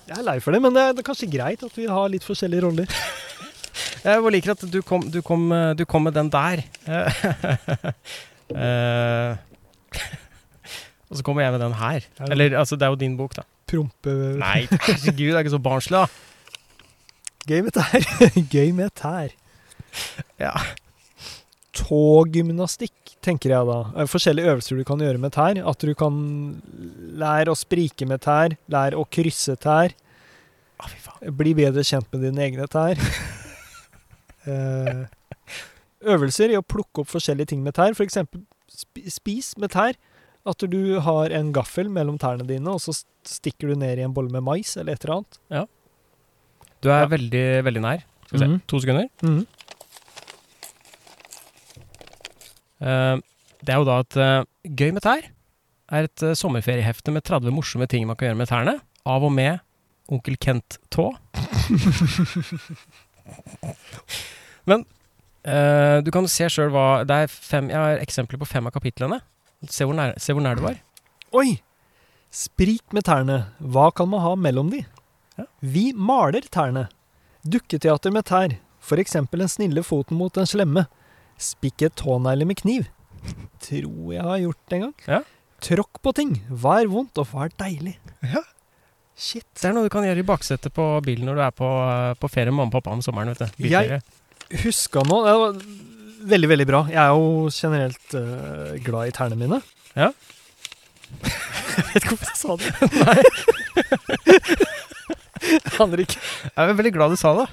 Speaker 3: Jeg er lei for det, men det er, det er kanskje greit at vi har litt forskjellige roller.
Speaker 2: jeg bare liker at du kom, du kom, eh, du kom med den der. Eh, og så kommer jeg med den her. Eller altså, det er jo din bok, da.
Speaker 3: Prompe
Speaker 2: Nei, herregud, det er ikke så barnslig, da.
Speaker 3: Gøy med tær. Gøy med tær.
Speaker 2: Ja.
Speaker 3: Tågymnastikk, tenker jeg da. Eh, Forskjellige øvelser du kan gjøre med tær. At du kan lære å sprike med tær, lære å krysse tær,
Speaker 2: Å, fy faen.
Speaker 3: bli bedre kjent med dine egne tær. Eh, øvelser i å plukke opp forskjellige ting med tær, f.eks. spis med tær. At du har en gaffel mellom tærne dine, og så stikker du ned i en bolle med mais eller et eller annet.
Speaker 2: Du er
Speaker 3: Ja.
Speaker 2: veldig, veldig nær. Skal vi se.
Speaker 3: Mhm.
Speaker 2: To sekunder. Eh, det er jo da at eh, Gøy med tær er et eh, sommerferiehefte med 30 morsomme ting man kan gjøre med tærne. Av og med Onkel Kent Tå. Men eh, du kan se sjøl hva det er fem, Jeg har eksempler på fem av kapitlene. Se hvor nær, se hvor nær du var.
Speaker 3: Oi! Sprik med tærne. Hva kan man ha mellom de?
Speaker 2: Ja.
Speaker 3: Vi maler tærne. Dukketeater med tær. For eksempel den snille foten mot den slemme. Spikke tånegler med kniv. Tror jeg har gjort det en gang.
Speaker 2: Ja.
Speaker 3: Tråkk på ting. Hva er vondt, og hva er deilig?
Speaker 2: Ja.
Speaker 3: Shit.
Speaker 2: Det er noe du kan gjøre i baksetet på bilen når du er på, eh, på ferie med mamma og pappa om sommeren. vet du. Bilferie.
Speaker 3: Huska nå Det var veldig, veldig bra. Jeg er jo generelt eh, glad i tærne mine.
Speaker 2: Ja.
Speaker 3: jeg vet ikke hvorfor jeg sa det. Nei. Aner ikke.
Speaker 2: Jeg er veldig glad du sa det.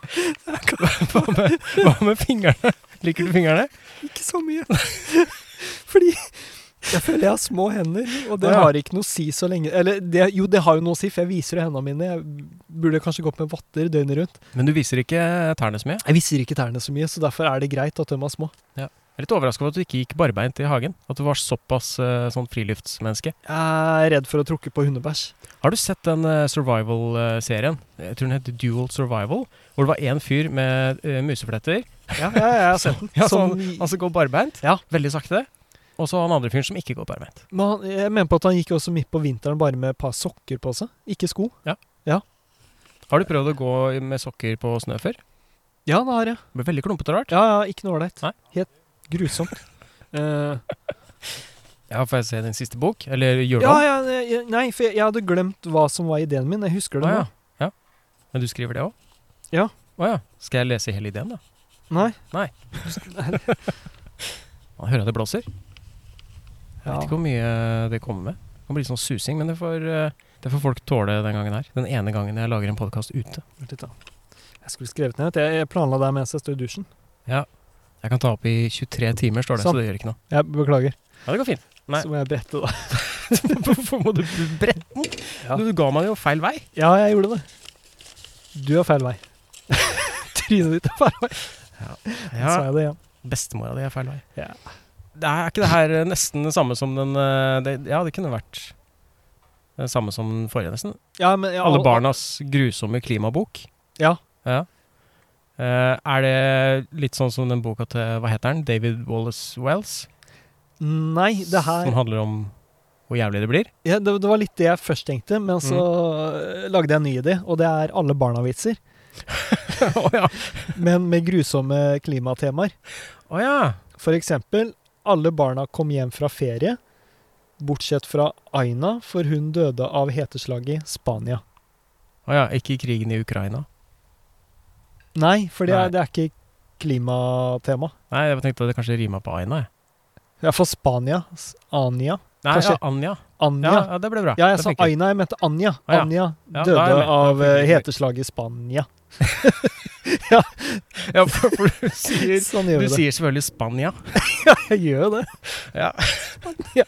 Speaker 2: Hva med, hva med fingrene? Liker du fingrene?
Speaker 3: Ikke så mye. Fordi jeg føler jeg har små hender, og det
Speaker 2: Ja.
Speaker 3: har ikke noe å si så lenge Eller det, jo, det har jo noe å si, for jeg viser jo hendene mine. Jeg burde kanskje gått med votter døgnet rundt.
Speaker 2: Men du viser ikke tærne så mye.
Speaker 3: Jeg viser ikke tærne så mye, så derfor er det greit at de er små.
Speaker 2: Jeg er litt overraska over at du ikke gikk barbeint i hagen. At du var såpass eh, sånn friluftsmenneske.
Speaker 3: Jeg er redd for å tråkke på hundebæsj.
Speaker 2: Har du sett den eh, survival-serien? Jeg tror den heter Dual Survival. Hvor det var én fyr med eh, musefletter.
Speaker 3: Ja, ja, jeg har sett den.
Speaker 2: Ja, så
Speaker 3: Som-
Speaker 2: han, han som går barbeint.
Speaker 3: Ja.
Speaker 2: Veldig sakte. Og så han andre fyren som ikke går barbeint.
Speaker 3: Men han, jeg mener på at han gikk også midt på vinteren bare med et par sokker på seg, ikke sko.
Speaker 2: Har du prøvd å gå med sokker på snø før?
Speaker 3: Ja, det har jeg.
Speaker 2: Det Blir veldig klumpete og rart.
Speaker 3: Ja, ja, ikke noe ålreit.
Speaker 2: Nei.
Speaker 3: Helt grusomt. Eh,
Speaker 2: Ja, får jeg se din siste bok? Eller gjør du
Speaker 3: ja,
Speaker 2: den?
Speaker 3: ja, jeg- nei, for jeg, jeg hadde glemt hva som var ideen min. Jeg husker
Speaker 2: Å,
Speaker 3: det nå.
Speaker 2: ja. ja. Men du skriver det òg?
Speaker 3: Ja.
Speaker 2: Å ja. Skal jeg lese hele ideen, da?
Speaker 3: Nei.
Speaker 2: Ja, Hører jeg det blåser? Jeg
Speaker 3: Ja.
Speaker 2: vet ikke hvor mye det kommer med. Det kan bli sånn susing, men det får, eh, det får folk tåle den gangen her. Den ene gangen jeg lager en podkast ute.
Speaker 3: Vent litt da. Jeg skulle skrevet ned at jeg, jeg planla det mens jeg står i dusjen.
Speaker 2: Jeg kan ta opp i 23 timer, står det,
Speaker 3: Sant.
Speaker 2: så det gjør ikke noe.
Speaker 3: Jeg beklager.
Speaker 2: Sånn. Ja, det går fint. Nei.
Speaker 3: Så må jeg brette, da.
Speaker 2: Hvorfor må du brette den?
Speaker 3: Ja.
Speaker 2: Du ga meg jo feil vei.
Speaker 3: Ja, jeg gjorde det. Du har feil vei. Trynet ditt er feil vei.
Speaker 2: Ja,
Speaker 3: Sa jeg det, ja.
Speaker 2: Bestemora di er feil vei.
Speaker 3: Ja.
Speaker 2: Det er ikke det her eh, nesten det samme som den eh, det, Ja, det kunne vært det samme som den forrige, nesten.
Speaker 3: ja men, ja,
Speaker 2: Alle
Speaker 3: al-
Speaker 2: barnas grusomme klimabok.
Speaker 3: Ja.
Speaker 2: Ja. Eh, er det litt sånn som den boka til hva heter den? David Wallace Wells?
Speaker 3: Nei, det her
Speaker 2: Som handler om hvor jævlig det blir?
Speaker 3: Ja,
Speaker 2: Mm.
Speaker 3: eh, det, det var litt det jeg først tenkte, men så øh, lagde jeg en ny idé, og det er alle barna-vitser.
Speaker 2: Å ja.
Speaker 3: men med grusomme klimatemaer.
Speaker 2: Å ja.
Speaker 3: For eksempel, alle barna kom hjem fra ferie, bortsett fra Aina, for hun døde av heteslag i Spania.
Speaker 2: Å ja. Ikke krigen i Ukraina.
Speaker 3: Nei, for det
Speaker 2: Nei.
Speaker 3: er, det er ikke klimatema.
Speaker 2: Nei, jeg tenkte at det kanskje rima på Aina. jeg.
Speaker 3: Ja, for Spania. S- Ania.
Speaker 2: Nei,
Speaker 3: Kanskje-
Speaker 2: ja, Anja. Ja,
Speaker 3: Anja.
Speaker 2: ja, det ble bra.
Speaker 3: Ja, jeg
Speaker 2: Det
Speaker 3: sa
Speaker 2: funker.
Speaker 3: Aina, jeg mente Anja.
Speaker 2: Ah, ja.
Speaker 3: Anja
Speaker 2: Ja, da er jeg
Speaker 3: døde
Speaker 2: med. Da
Speaker 3: av
Speaker 2: funker
Speaker 3: eh,
Speaker 2: det.
Speaker 3: heteslag i Spania.
Speaker 2: Ja, for, for du sier
Speaker 3: Sånn
Speaker 2: Du
Speaker 3: gjør vi det.
Speaker 2: sier selvfølgelig Spania.
Speaker 3: Jeg gjør jo det.
Speaker 2: Ja.
Speaker 3: Spania.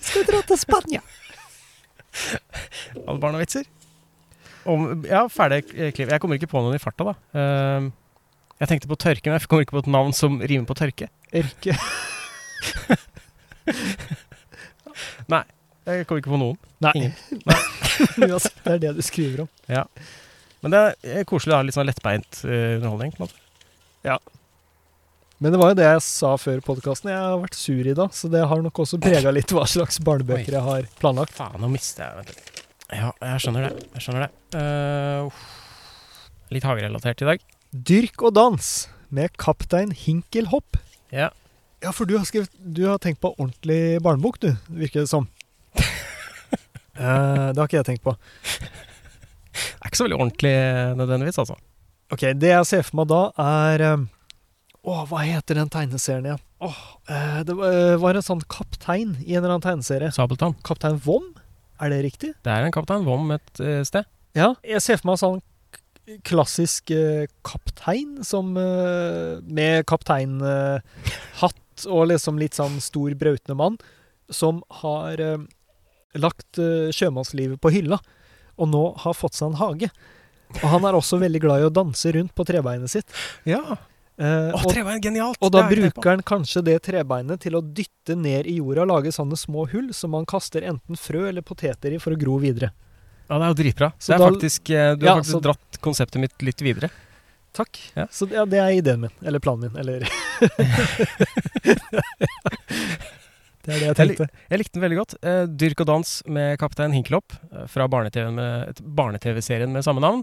Speaker 3: Skal dra til Spania.
Speaker 2: Alle barn har vitser. Om, ja, ferdig eh, klipp. Jeg kommer ikke på noen i farta, da. Ehm, jeg tenkte på tørke, men jeg kommer ikke på et navn som rimer på tørke.
Speaker 3: Erke.
Speaker 2: Jeg kommer ikke på noen.
Speaker 3: Nei.
Speaker 2: Ingen.
Speaker 3: Uansett, det er det du skriver om.
Speaker 2: Men det er koselig å ha litt sånn lettbeint eh, underholdning. på en måte.
Speaker 3: Men det var jo det jeg sa før podkasten. Jeg har vært sur i dag, så det har nok også prega litt hva slags barnebøker jeg har planlagt.
Speaker 2: Faen, nå mister jeg Vent litt. Ja, jeg skjønner det. Jeg skjønner det. Eh, uff. litt hagerelatert i dag.
Speaker 3: Dyrk og dans med Kaptein Hinkelhopp.
Speaker 2: Ja.
Speaker 3: Ja, for du har, skrevet, du har tenkt på ordentlig barnebok, du, virker det som. Eh, det har ikke jeg tenkt på.
Speaker 2: Det er ikke så veldig ordentlig eh, nødvendigvis, altså.
Speaker 3: Ok, Det jeg ser for meg da, er eh, Å, hva heter den tegneserien igjen? Åh, eh, det var, var en sånn kaptein i en eller annen tegneserie.
Speaker 2: Sabeltann.
Speaker 3: Kaptein Vom? Er det riktig?
Speaker 2: Det er en kaptein Vom et eh, sted.
Speaker 3: Ja, jeg ser for meg sånn k- klassisk eh, kaptein som eh, Med kapteinhatt og liksom litt sånn stor, brautende mann som har eh, lagt eh, sjømannslivet på hylla og nå har fått seg en hage. Og han er også veldig glad i å danse rundt på trebeinet sitt.
Speaker 2: Ja.
Speaker 3: Eh,
Speaker 2: Å,
Speaker 3: og,
Speaker 2: trebein, genialt!
Speaker 3: og da
Speaker 2: Det har jeg tenkt på.
Speaker 3: bruker han kanskje det trebeinet til å dytte ned i jorda og lage sånne små hull som han kaster enten frø eller poteter i for å gro videre.
Speaker 2: Ja, det er jo dritbra.
Speaker 3: Så
Speaker 2: det er
Speaker 3: da-
Speaker 2: faktisk, eh, du
Speaker 3: Ja,
Speaker 2: har faktisk
Speaker 3: så-
Speaker 2: dratt konseptet mitt litt videre.
Speaker 3: Takk.
Speaker 2: Ja.
Speaker 3: Så det- ja, det er ideen min. Eller planen min. Eller Det er det jeg
Speaker 2: Jeg lik-
Speaker 3: tenkte.
Speaker 2: Jeg likte den veldig godt. Eh, Dyrk og dans med Kaptein Hinkelopp eh, fra barne-TV med- et- barne-TV-serien med samme navn.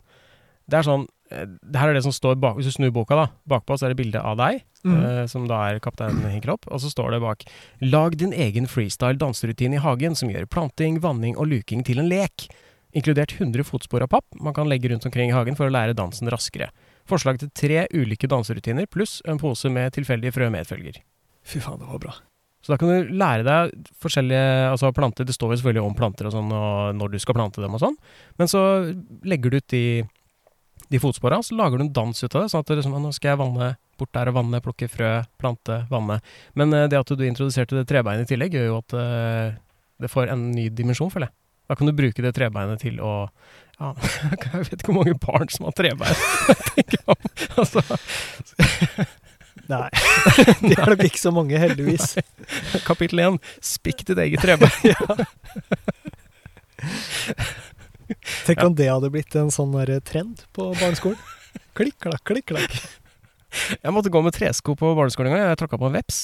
Speaker 2: Det er sånn eh, det her er det som står bak, Hvis du snur boka, da. Bakpå så er det bilde av deg,
Speaker 3: mm. Mhm.
Speaker 2: eh, som da er kaptein Hinkelopp. Og så står det bak 'Lag din egen freestyle danserutine i hagen som gjør planting, vanning og luking til en lek'. Inkludert 100 fotspor av papp man kan legge rundt omkring i hagen for å lære dansen raskere. Forslag til tre ulike danserutiner pluss en pose med tilfeldige frø medfølger.
Speaker 3: Fy faen, det var bra.
Speaker 2: Så da kan du lære deg forskjellige altså planter. Det står jo selvfølgelig om planter og sånn, og når du skal plante dem og sånn. Men så legger du ut de, de fotspora, så lager du en dans ut av det. Sånn at det liksom, «Å, nå skal jeg vanne bort der og vanne, plukke frø, plante, vanne. Men eh, det at du introduserte det trebeinet i tillegg, gjør jo at eh, det får en ny dimensjon, føler jeg. Da kan du bruke det trebeinet til å ja, Jeg vet ikke hvor mange barn som har trebein. tenker jeg om. altså,
Speaker 3: Nei. Det er nok ikke så mange, heldigvis.
Speaker 2: Kapittel 1. Spikk ditt eget trebein.
Speaker 3: Tenk om det hadde blitt en sånn der trend på barneskolen. Klikk, klakk, klikk, klakk.
Speaker 2: Jeg måtte gå med tresko på barneskolen en gang. Jeg tråkka på en veps.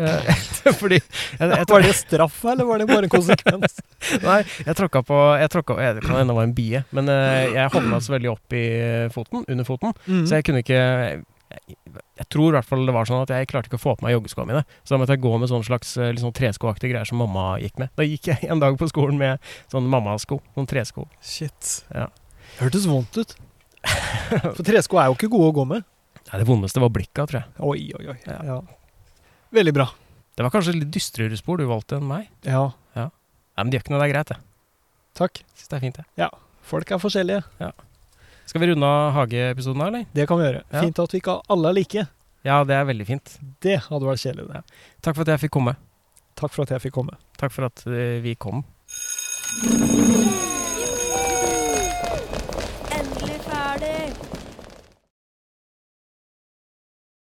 Speaker 2: Eh, Fordi jeg, jeg,
Speaker 3: Var det straff, eller var det bare en konsekvens?
Speaker 2: nei, jeg tråkka på Jeg tråkka jeg, Det kan hende det var en bie, men eh, jeg havna så veldig opp i foten, under foten,
Speaker 3: Mm.
Speaker 2: så jeg kunne ikke jeg, jeg tror i hvert fall det var sånn at jeg klarte ikke å få på meg joggeskoa mine. Så da måtte jeg gå med sånn slags eh, litt sånn treskoaktige greier som mamma gikk med. Da gikk jeg en dag på skolen med sånn mammasko. Sånn tresko.
Speaker 3: Shit.
Speaker 2: Ja.
Speaker 3: Hørtes vondt ut. For tresko er jo ikke gode å gå med.
Speaker 2: Nei, det vondeste var blikka, tror jeg.
Speaker 3: Oi, oi, oi.
Speaker 2: Ja.
Speaker 3: Ja. Veldig bra.
Speaker 2: Det var kanskje litt dystrere spor du valgte enn meg.
Speaker 3: Ja,
Speaker 2: Nei, men det gjør ikke noe, det er greit, det.
Speaker 3: takk.
Speaker 2: Syns det er fint, det.
Speaker 3: Folk er forskjellige.
Speaker 2: Skal vi runde av hageepisoden da, eller?
Speaker 3: Det kan vi gjøre.
Speaker 2: Ja.
Speaker 3: Fint at vi ikke alle er like.
Speaker 2: Ja, det er veldig fint.
Speaker 3: Det hadde vært kjedelig. det.
Speaker 2: Takk for at jeg fikk komme.
Speaker 3: Takk for at jeg fikk komme.
Speaker 2: Takk for at eh, vi kom.
Speaker 5: Endelig ferdig!